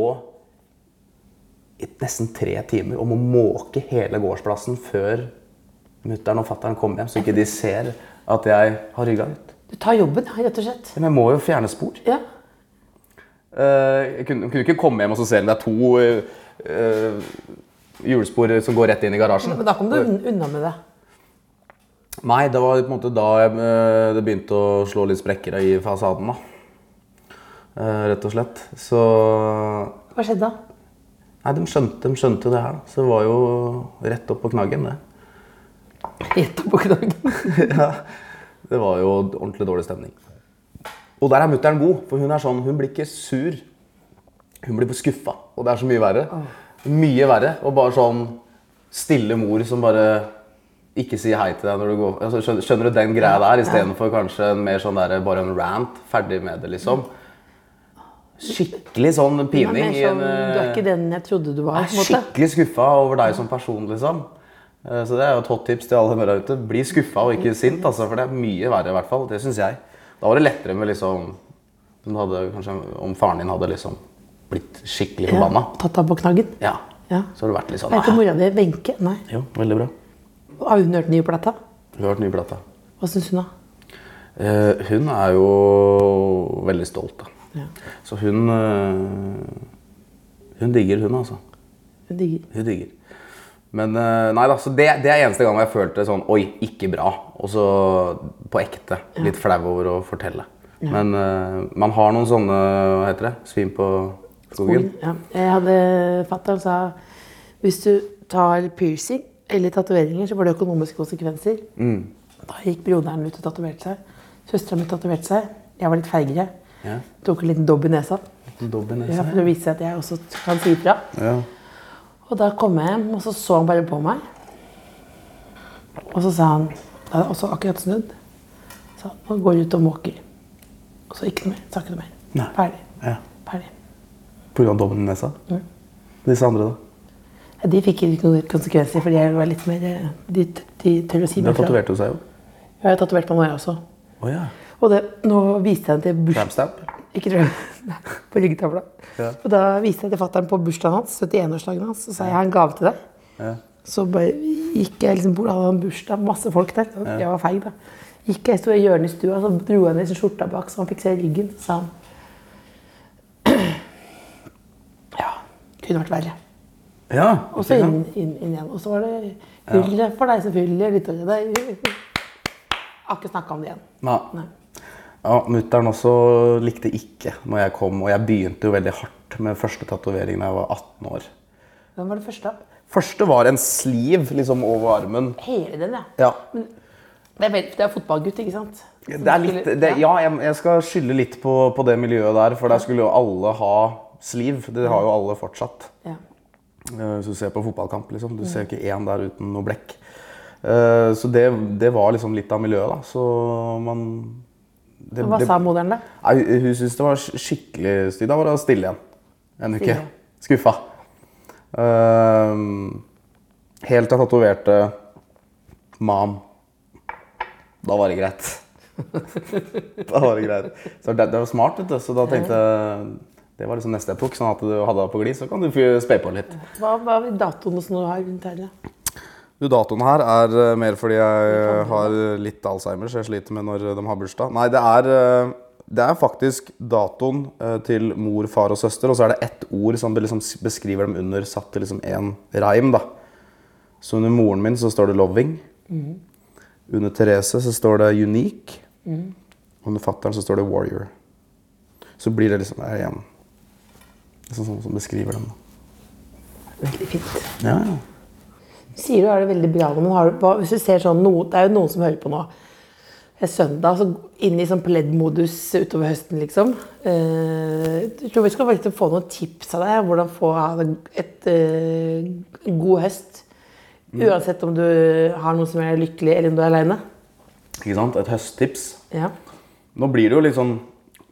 Speaker 3: i nesten tre timer og må måke hele gårdsplassen før mutter'n og fatter'n kommer hjem, så ikke de ser at jeg har rygga ut.
Speaker 1: Du tar jobben, ja, rett og slett?
Speaker 3: Men jeg må jo fjerne spor.
Speaker 1: Ja.
Speaker 3: Eh, jeg kunne, kunne ikke komme hjem og så se om det er to eh, eh, hjulspor som går rett inn i garasjen.
Speaker 1: Men da kom du un- unna med det.
Speaker 3: Nei, det var på en måte da jeg, eh, det begynte å slå litt sprekker i fasaden, da. Eh, rett og slett. Så
Speaker 1: Hva skjedde da?
Speaker 3: Nei, de skjønte, de skjønte jo det her, da. Så det var jo rett opp på knaggen, det.
Speaker 1: Rett opp på knaggen.
Speaker 3: ja, det var jo ordentlig dårlig stemning. Og der er mutter'n god, for hun er sånn, hun blir ikke sur. Hun blir skuffa, og det er så mye verre. Mye verre. Og bare sånn stille mor som bare ikke sier hei til deg når du går altså, skjønner- Skjønner du den greia der, istedenfor kanskje en mer sånn der, bare en rant, ferdig med det, liksom. Skikkelig sånn
Speaker 1: Det var mer
Speaker 3: pining. i en,
Speaker 1: sånn, du er
Speaker 3: eh,
Speaker 1: ikke den jeg trodde du var.
Speaker 3: jeg
Speaker 1: på en
Speaker 3: er
Speaker 1: måte.
Speaker 3: skikkelig skuffa over deg som person, liksom. Eh, Så det er jo et hot tips til alle der ute. Bli skuffa og ikke sint, altså, for det er mye verre, i hvert fall. Det syns jeg. Da var det lettere med liksom om, du hadde, kanskje, om faren din hadde liksom blitt skikkelig forbanna.
Speaker 1: Ja, tatt av på knaggen.
Speaker 3: Ja.
Speaker 1: Ja.
Speaker 3: Så har du vært litt sånn
Speaker 1: Er ikke
Speaker 3: «Nei».
Speaker 1: mora di Wenche? Nei.
Speaker 3: Jo, veldig bra.
Speaker 1: Har hun hørt den nye plata?
Speaker 3: Hun har hørt nye plata.
Speaker 1: Hva syns hun, da?
Speaker 3: Eh, hun er jo veldig stolt, da.
Speaker 1: Ja.
Speaker 3: Så hun eh, Hun digger, hun, altså.
Speaker 1: Hun digger.
Speaker 3: Hun digger. Men eh, nei da, så det, det er eneste gang jeg følte sånn Oi, ikke bra. Og så på ekte. Litt flau over å fortelle. Men eh, man har noen sånne Hva heter det? Svin på skogen?
Speaker 1: Ja. Jeg hadde Fatter'n sa hvis du tar piercing eller tatoveringer, så får det økonomiske konsekvenser.
Speaker 3: Mm.
Speaker 1: Da gikk broderen ut og tatoverte seg. Søstera mi tatoverte seg. Jeg var litt feigere.
Speaker 3: Ja. sånn,
Speaker 1: Tok en liten dobb i nesa.
Speaker 3: Dobb i
Speaker 1: Ja,
Speaker 3: nesa.
Speaker 1: for det viste seg at jeg også kan si ifra.
Speaker 3: Ja.
Speaker 1: Og da kom jeg hjem, og så så han bare på meg. Og så sa han Da hadde jeg også akkurat snudd. Så han «Nå går du ut og måker. Og så ikke noe mer. Sa ikke noe mer.
Speaker 3: Nei.
Speaker 1: Ferdig.
Speaker 3: ja.
Speaker 1: Ferdig.
Speaker 3: På grunn av dobben i nesa? Disse andre, da?
Speaker 1: Ja, de fikk ikke noen konsekvenser, fordi jeg var litt mer eh, De, de tør å si
Speaker 3: Du
Speaker 1: meg
Speaker 3: har
Speaker 1: fra.
Speaker 3: tatovert hos deg jo.
Speaker 1: Jeg har tatovert meg nå, jeg også.
Speaker 3: Å ja.
Speaker 1: Og det, nå viste jeg den til burs-
Speaker 3: Tramstamp?
Speaker 1: Ikke drøm. Nei, På ryggetavla.
Speaker 3: Ja.
Speaker 1: Og da viste jeg til fatter'n på bursdagen hans, 71-årsdagen hans, og sa jeg har en gave til deg.
Speaker 3: Ja.
Speaker 1: Så bare gikk jeg liksom bort, han hadde en bursdag, masse folk der. Så jeg var feig, da. Gikk jeg sto i hjørnet i stua, så dro jeg ned liksom skjorta bak, så han fikk se ryggen. Så sa han Ja, kunne vært verre.
Speaker 3: ja.
Speaker 1: Og så inn, inn, inn igjen. Og så var det hullet for deg, selvfølgelig. Litt over deg. Har ikke snakka om det igjen.
Speaker 3: Nei.
Speaker 1: Nei.
Speaker 3: Ja, Mutter'n også likte ikke når jeg kom, og jeg begynte jo veldig hardt med første tatovering da jeg var 18 år.
Speaker 1: Den var det første.
Speaker 3: Første var en sliv liksom over armen.
Speaker 1: Hele den, ja.
Speaker 3: Ja.
Speaker 1: Det er, vel, det er fotballgutt, ikke sant? Som
Speaker 3: Det er litt,
Speaker 1: skulle-
Speaker 3: det,
Speaker 1: ja.
Speaker 3: ja, jeg, jeg skal skylde litt på, på det miljøet der, for der skulle jo alle ha sliv. Det har jo alle fortsatt.
Speaker 1: Ja.
Speaker 3: Eh, Hvis du ser på fotballkamp, liksom. Du ser jo ikke én der uten noe blekk. Eh, Så det, det var liksom litt av miljøet, da. Så man det-
Speaker 1: Hva
Speaker 3: det-
Speaker 1: sa moderen, da?
Speaker 3: Nei, hun syntes det var sk- skikkelig stygt. Da var det stille igjen en uke.
Speaker 1: Stille.
Speaker 3: Skuffa. Ehm, helt til jeg tatoverte 'mam'. Da var det greit. da var det greit. Så det, det var smart, vet du. Så da tenkte jeg Det var liksom neste epok. Sånn at du hadde det på glid, så kan du fy- spe på litt.
Speaker 1: Hva hva var datoen og sånn du har rundt her? da?
Speaker 3: Du, Datoen her er eh, mer fordi jeg eh, har litt Alzheimer, så jeg sliter med når eh, de har bursdag. Nei, det er, eh, det er faktisk datoen eh, til mor, far og søster, og så er det ett ord som liksom s- beskriver dem under, satt til liksom én reim. da. Så under moren min så står det 'loving'. Under Therese så står det 'unique'. Under fattern så står det 'warrior'. Så blir det liksom det er igjen. Liksom sånn som beskriver dem. da.
Speaker 1: Veldig fint.
Speaker 3: Ja, ja.
Speaker 1: Sier du har det veldig bra nå, men har, du- hva, hvis du ser sånn noe, Det er jo noen som hører på nå. Det er søndag, så inn i sånn pledd-modus utover høsten, liksom. Eh, jeg tror vi skal faktisk få noen tips av deg. Hvordan få ha en- et, eh, en god høst.
Speaker 3: Mm.
Speaker 1: Uansett om du har noen som er lykkelig, eller om du er aleine.
Speaker 3: Ikke sant? Et høsttips.
Speaker 1: Ja.
Speaker 3: Nå blir det jo litt sånn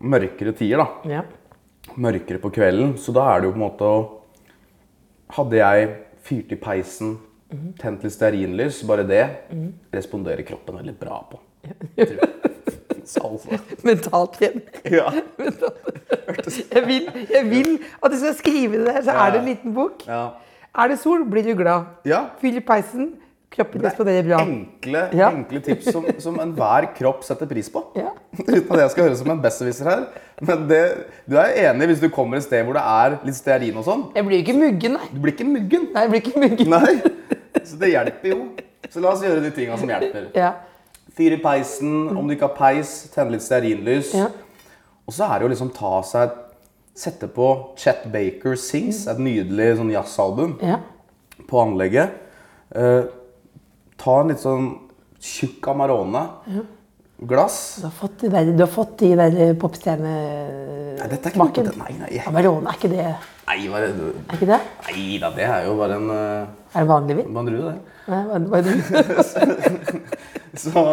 Speaker 3: mørkere tider, da.
Speaker 1: ja.
Speaker 3: Mørkere på kvelden. Så da er det jo på en måte å Hadde jeg fyrt i peisen,
Speaker 1: Mhm.
Speaker 3: tent litt stearinlys, bare det, responderer kroppen veldig bra på. Tror jeg. Så altså.
Speaker 1: Mentalt igjen.
Speaker 3: Ja.
Speaker 1: Jeg vil, jeg vil at du skal skrive det der, så er det en liten bok.
Speaker 3: ja.
Speaker 1: Er det sol, blir du glad.
Speaker 3: Ja.
Speaker 1: Fyll i peisen, kroppen responderer bra.
Speaker 3: Enkle,
Speaker 1: Ja.
Speaker 3: enkle tips som, som enhver kropp setter pris på.
Speaker 1: Ja.
Speaker 3: Uten at jeg skal høres ut som en besserwisser her. Men det, du er enig hvis du kommer et sted hvor det er litt stearin og sånn.
Speaker 1: Jeg blir jo ikke muggen, nei.
Speaker 3: Du blir ikke muggen.
Speaker 1: nei jeg blir ikke muggen.
Speaker 3: Nei, så det hjelper jo. Så la oss gjøre de tinga som hjelper.
Speaker 1: Ja.
Speaker 3: Fyr i peisen, om du ikke har peis, tenne litt stearinlys.
Speaker 1: Mm. Ja.
Speaker 3: Og så er det jo liksom ta seg Sette på Chet Baker Sings, et nydelig sånn jazzalbum,
Speaker 1: Mm. Ja.
Speaker 3: på anlegget. Eh, ta en litt sånn tjukk Amarone. glass.
Speaker 1: Du har fått de der, du har fått de der eh, popstjerne...
Speaker 3: Nei, dette er ikke
Speaker 1: smaken.
Speaker 3: noe potet- nei, nei.
Speaker 1: Amarone, er ikke det er
Speaker 3: Nei, hva er det?
Speaker 1: ikke det?
Speaker 3: Nei da, det er jo bare en uh,
Speaker 1: Er det vanlig vin?
Speaker 3: bandrue, det.
Speaker 1: Nei, hva- hva er det?
Speaker 3: Så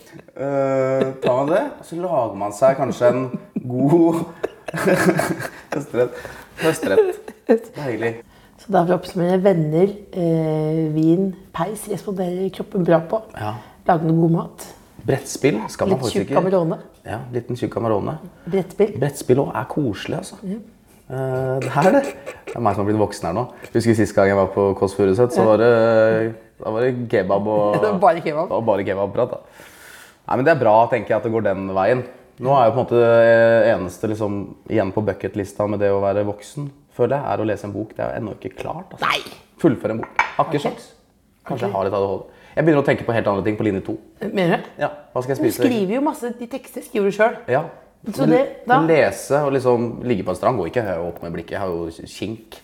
Speaker 3: eh, tar man det, og så lager man seg kanskje en god høstrett. Høstrett. Deilig.
Speaker 1: Så da vil jeg oppsummere venner, eh, vin, peis responderer kroppen bra på.
Speaker 3: Ja.
Speaker 1: Lage noe god mat.
Speaker 3: Brettspill skal man
Speaker 1: Litt
Speaker 3: faktisk
Speaker 1: tjukk
Speaker 3: ikke.
Speaker 1: Amarone.
Speaker 3: Ja, liten tjukk Amarone.
Speaker 1: Brettspill.
Speaker 3: Brettspill også er koselig, altså. Eh, det er det. Det er meg som har blitt voksen her nå. Husker sist gang jeg var på Kåss Furuseth, så var det, da var det kebab og
Speaker 1: Det var bare kebab.
Speaker 3: Det var bare kebabprat, da. Nei, men det er bra, tenker jeg, at det går den veien. Nå er jo på en måte det eneste liksom, igjen på bucketlista med det å være voksen, føler jeg, er å lese en bok. Det er jo ennå ikke klart. Altså.
Speaker 1: Nei!
Speaker 3: Fullføre en bok. Har ikke sjans. Kanskje jeg har litt ADHD. Jeg begynner å tenke på helt andre ting på linje to.
Speaker 1: Eh, Mener du?
Speaker 3: Ja, hva skal jeg
Speaker 1: Du
Speaker 3: spise?
Speaker 1: skriver jo masse de tekster skriver du sjøl.
Speaker 3: Ja.
Speaker 1: Så det, da
Speaker 3: Men Lese og liksom ligge på en strand går ikke. Jeg har jo åpne blikket, jeg har jo kink.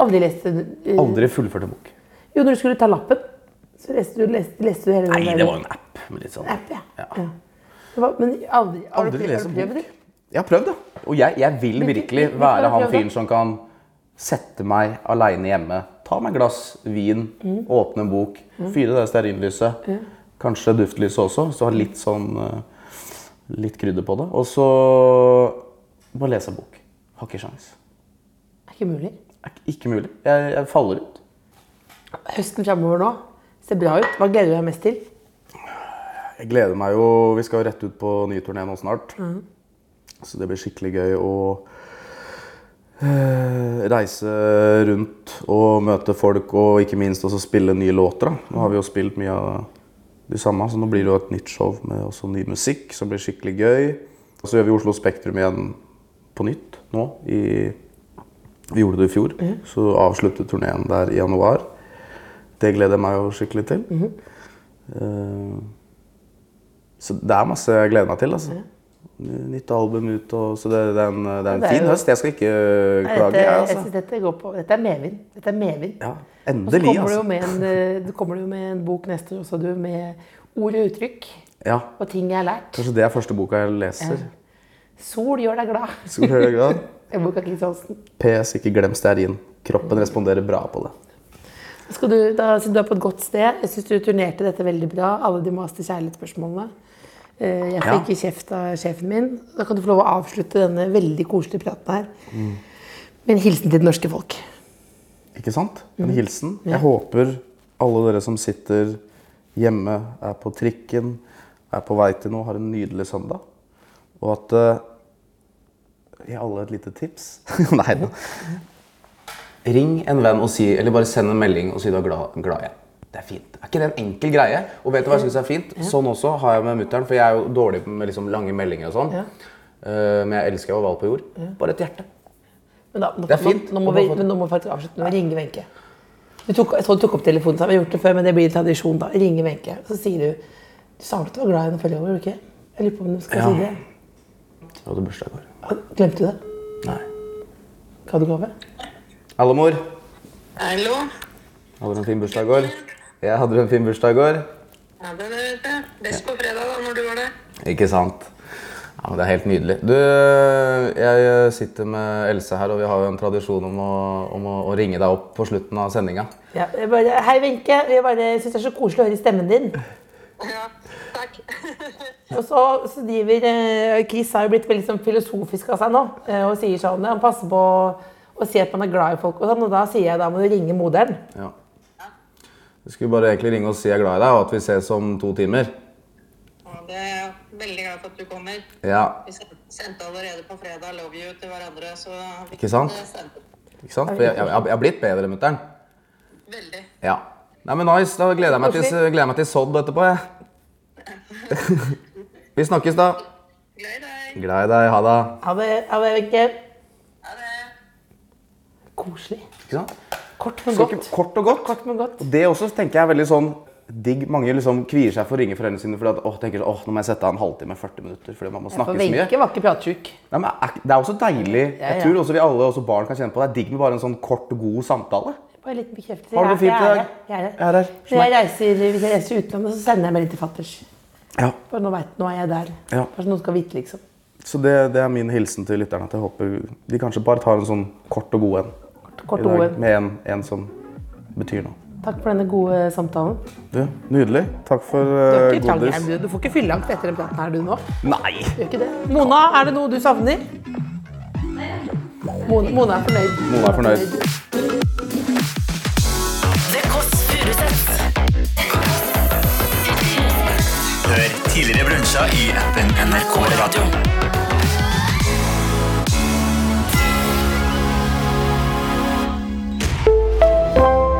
Speaker 1: Aldri leste du eh,
Speaker 3: Aldri fullført en bok.
Speaker 1: Jo, når du skulle ta lappen, så leste du, leste, leste du hele den
Speaker 3: Nei,
Speaker 1: der-
Speaker 3: det var jo en app. Med litt sånn.
Speaker 1: app, ja.
Speaker 3: Ja.
Speaker 1: ja. Det var, men aldri, har du
Speaker 3: Aldri
Speaker 1: prøvd-
Speaker 3: lese
Speaker 1: har du
Speaker 3: bok.
Speaker 1: prøvd det?
Speaker 3: Jeg har prøvd, ja. Og jeg, jeg vil
Speaker 1: Men du-
Speaker 3: virkelig
Speaker 1: men du har
Speaker 3: være han
Speaker 1: prøvd,
Speaker 3: fyren
Speaker 1: da?
Speaker 3: som kan sette meg aleine hjemme, ta meg et glass vin,
Speaker 1: Mm.
Speaker 3: åpne en bok, fyre det stearinlyset, kanskje duftlyset også, så ha litt sånn eh, Litt krydder på det. Og så bare lese en bok. Har ikke sjans.
Speaker 1: Er ikke mulig.
Speaker 3: Er ikke- Ikke mulig. Jeg, jeg faller ut.
Speaker 1: Høsten framover nå ser bra ut. Hva gleder du deg mest til?
Speaker 3: Jeg gleder meg jo Vi skal jo rett ut på ny turné nå snart. Så det blir skikkelig gøy å eh, reise rundt og møte folk, og ikke minst også spille nye låter. Da. Nå har vi jo spilt mye av de samme, så nå blir det jo et nytt show med også ny musikk som blir skikkelig gøy. Og så gjør vi Oslo Spektrum igjen på nytt nå. I, vi gjorde det i fjor.
Speaker 1: Mhm.
Speaker 3: Så avsluttet turneen der i januar. Det gleder jeg meg jo skikkelig til.
Speaker 1: Mhm.
Speaker 3: Eh, så det er masse jeg gleder meg til. altså. Nytt album ut, og, så det, det er en, det er en
Speaker 1: Det er
Speaker 3: fin
Speaker 1: jo-
Speaker 3: høst. Jeg skal ikke
Speaker 1: Nei,
Speaker 3: klage.
Speaker 1: Dette,
Speaker 3: Jeg,
Speaker 1: jeg
Speaker 3: altså.
Speaker 1: synes dette, går på, dette er medvind. Dette er medvind.
Speaker 3: ja,
Speaker 1: Og så
Speaker 3: endelig,
Speaker 1: kommer, du jo
Speaker 3: altså.
Speaker 1: med en, eh, du kommer jo med en bok neste år også, du, med ord og uttrykk
Speaker 3: Ja,
Speaker 1: og ting jeg har lært.
Speaker 3: Kanskje det er første boka jeg leser.
Speaker 1: Sol gjør deg glad.
Speaker 3: Skal du høre det glad?
Speaker 1: En bok av Kristiansen.
Speaker 3: PS, ikke glem stearin.
Speaker 1: Mhm.
Speaker 3: Kroppen responderer bra på det.
Speaker 1: Skal du, da, siden du er på et godt sted, jeg syns du turnerte dette veldig bra. Alle de maste kjærlighetsspørsmålene. Eh, Jeg
Speaker 3: Ja.
Speaker 1: fikk ikke kjeft av sjefen min. Da kan du få lov å avslutte denne veldig koselige praten her
Speaker 3: Mm.
Speaker 1: med en hilsen til det norske folk.
Speaker 3: Ikke sant? En hilsen. Jeg håper alle dere som sitter hjemme, er på trikken, er på vei til noe, har en nydelig søndag. Og at eh, Gi alle et lite tips. Nei da. Ring en venn og si, eller bare send en melding og si du er glad, glad igjen. Det er fint. Er ikke det en enkel greie? Og vet du hva jeg syns er fint? Sånn også har jeg med mutter'n, for jeg er jo dårlig med liksom lange meldinger og sånn.
Speaker 1: Ja.
Speaker 3: Eh, men jeg elsker å være på jord. Bare et hjerte.
Speaker 1: Men da, nå,
Speaker 3: Det er fint.
Speaker 1: Nå, nå, må vi, men nå må vi faktisk avslutte med å ringe Wenche. Du tok, jeg så du tok opp telefonen, så vi har gjort det før, men det blir en tradisjon. da. Ringe Wenche. Så sier du Du sa vel at du var glad i henne forrige år, gjorde du ikke? Jeg lurer på om du skal
Speaker 3: Ja.
Speaker 1: si det.
Speaker 3: Jeg hadde bursdag i går.
Speaker 1: Og- Glemte du det?
Speaker 3: Nei.
Speaker 1: Ga du gave?
Speaker 3: Hallo, mor.
Speaker 5: Hallo.
Speaker 3: Hadde du en fin bursdag i går? Jeg hadde du en fin bursdag i går.
Speaker 5: Ja, det er det, vet jeg. Best på fredag, da, når du var der.
Speaker 3: Ikke sant? Ja, men Det er helt nydelig. Du, jeg sitter med Else her, og vi har jo en tradisjon om å, om å, å ringe deg opp på slutten av sendinga.
Speaker 1: Ja, jeg bare, Hei, Wenche. Jeg bare syns det er så koselig å høre stemmen din.
Speaker 5: Ja, takk.
Speaker 1: Og så, så driver eh, Chris har jo blitt veldig sånn filosofisk av seg nå. eh, Og sier sånn Han passer på å, å si at man er glad i folk, og sånn. Og da sier jeg da må du ringe moderen.
Speaker 3: Ja. Du skulle bare egentlig ringe og si jeg er glad i deg, og at vi ses om to timer.
Speaker 5: Ja, det er jeg veldig glad for at du kommer.
Speaker 3: Ja,
Speaker 5: Vi sen- sendte allerede på fredag 'love you' til hverandre, så eh,
Speaker 3: Ikke sant?
Speaker 5: Det stemte.
Speaker 3: ikke sant? For jeg, jeg, jeg har blitt bedre, mutter'n.
Speaker 5: Veldig.
Speaker 3: Ja. Nei, men nice. Da gleder jeg meg til, gleder jeg meg til sodd etterpå, jeg. vi snakkes, da.
Speaker 5: Glad i deg.
Speaker 3: Glad i deg. Ha det.
Speaker 1: Ha det, ha det, Wenche.
Speaker 5: Ha det.
Speaker 1: Koselig.
Speaker 3: Ikke sant?
Speaker 1: Kort, men
Speaker 3: Skal ikke-
Speaker 1: godt.
Speaker 3: Kort og godt.
Speaker 1: Kort, men godt.
Speaker 3: Og Det også tenker jeg er veldig sånn digg. Mange liksom kvier seg for å ringe foreldrene sine fordi at, åh, tenker sånn, åh, nå må jeg sette av en halvtime, 40 minutter, fordi man må snakke
Speaker 1: For
Speaker 3: så mye.
Speaker 1: Wenche var ikke pratsjuk.
Speaker 3: Nei, men er- det er også deilig.
Speaker 1: Ja, ja.
Speaker 3: Jeg tror også vi alle, også barn, kan kjenne på det. Det er digg med bare en sånn kort, god samtale.
Speaker 1: Bare en liten bekreftelse.
Speaker 3: Har du det
Speaker 1: Jeg-
Speaker 3: fint i dag?
Speaker 1: Jeg er her. Jeg er
Speaker 3: Jeg er
Speaker 1: her.
Speaker 3: her.
Speaker 1: Når jeg reiser, hvis jeg reiser utlandet, så sender jeg meg litt til fatters.
Speaker 3: Ja.
Speaker 1: Bare nå vet, nå er jeg der.
Speaker 3: Ja.
Speaker 1: Bare så noen skal vite, liksom.
Speaker 3: Så det, det er min hilsen til lytterne. At jeg håper de kanskje bare tar en sånn kort og god en i
Speaker 1: Kort og
Speaker 3: dag.
Speaker 1: OL.
Speaker 3: Med en, en som betyr noe.
Speaker 1: Takk for denne gode samtalen.
Speaker 3: Du, nydelig. Takk for
Speaker 1: Du, er
Speaker 3: uh,
Speaker 1: ikke trangeren, du. du får ikke fylleangst etter den praten her, du nå.
Speaker 3: Nei!
Speaker 1: Du gjør ikke det. Mona, er det noe du savner? Mona, Mona er fornøyd.
Speaker 3: Mona er fornøyd.
Speaker 6: The Kåss Furuseths.
Speaker 7: Hør tidligere brunsja i appen NRK Radio.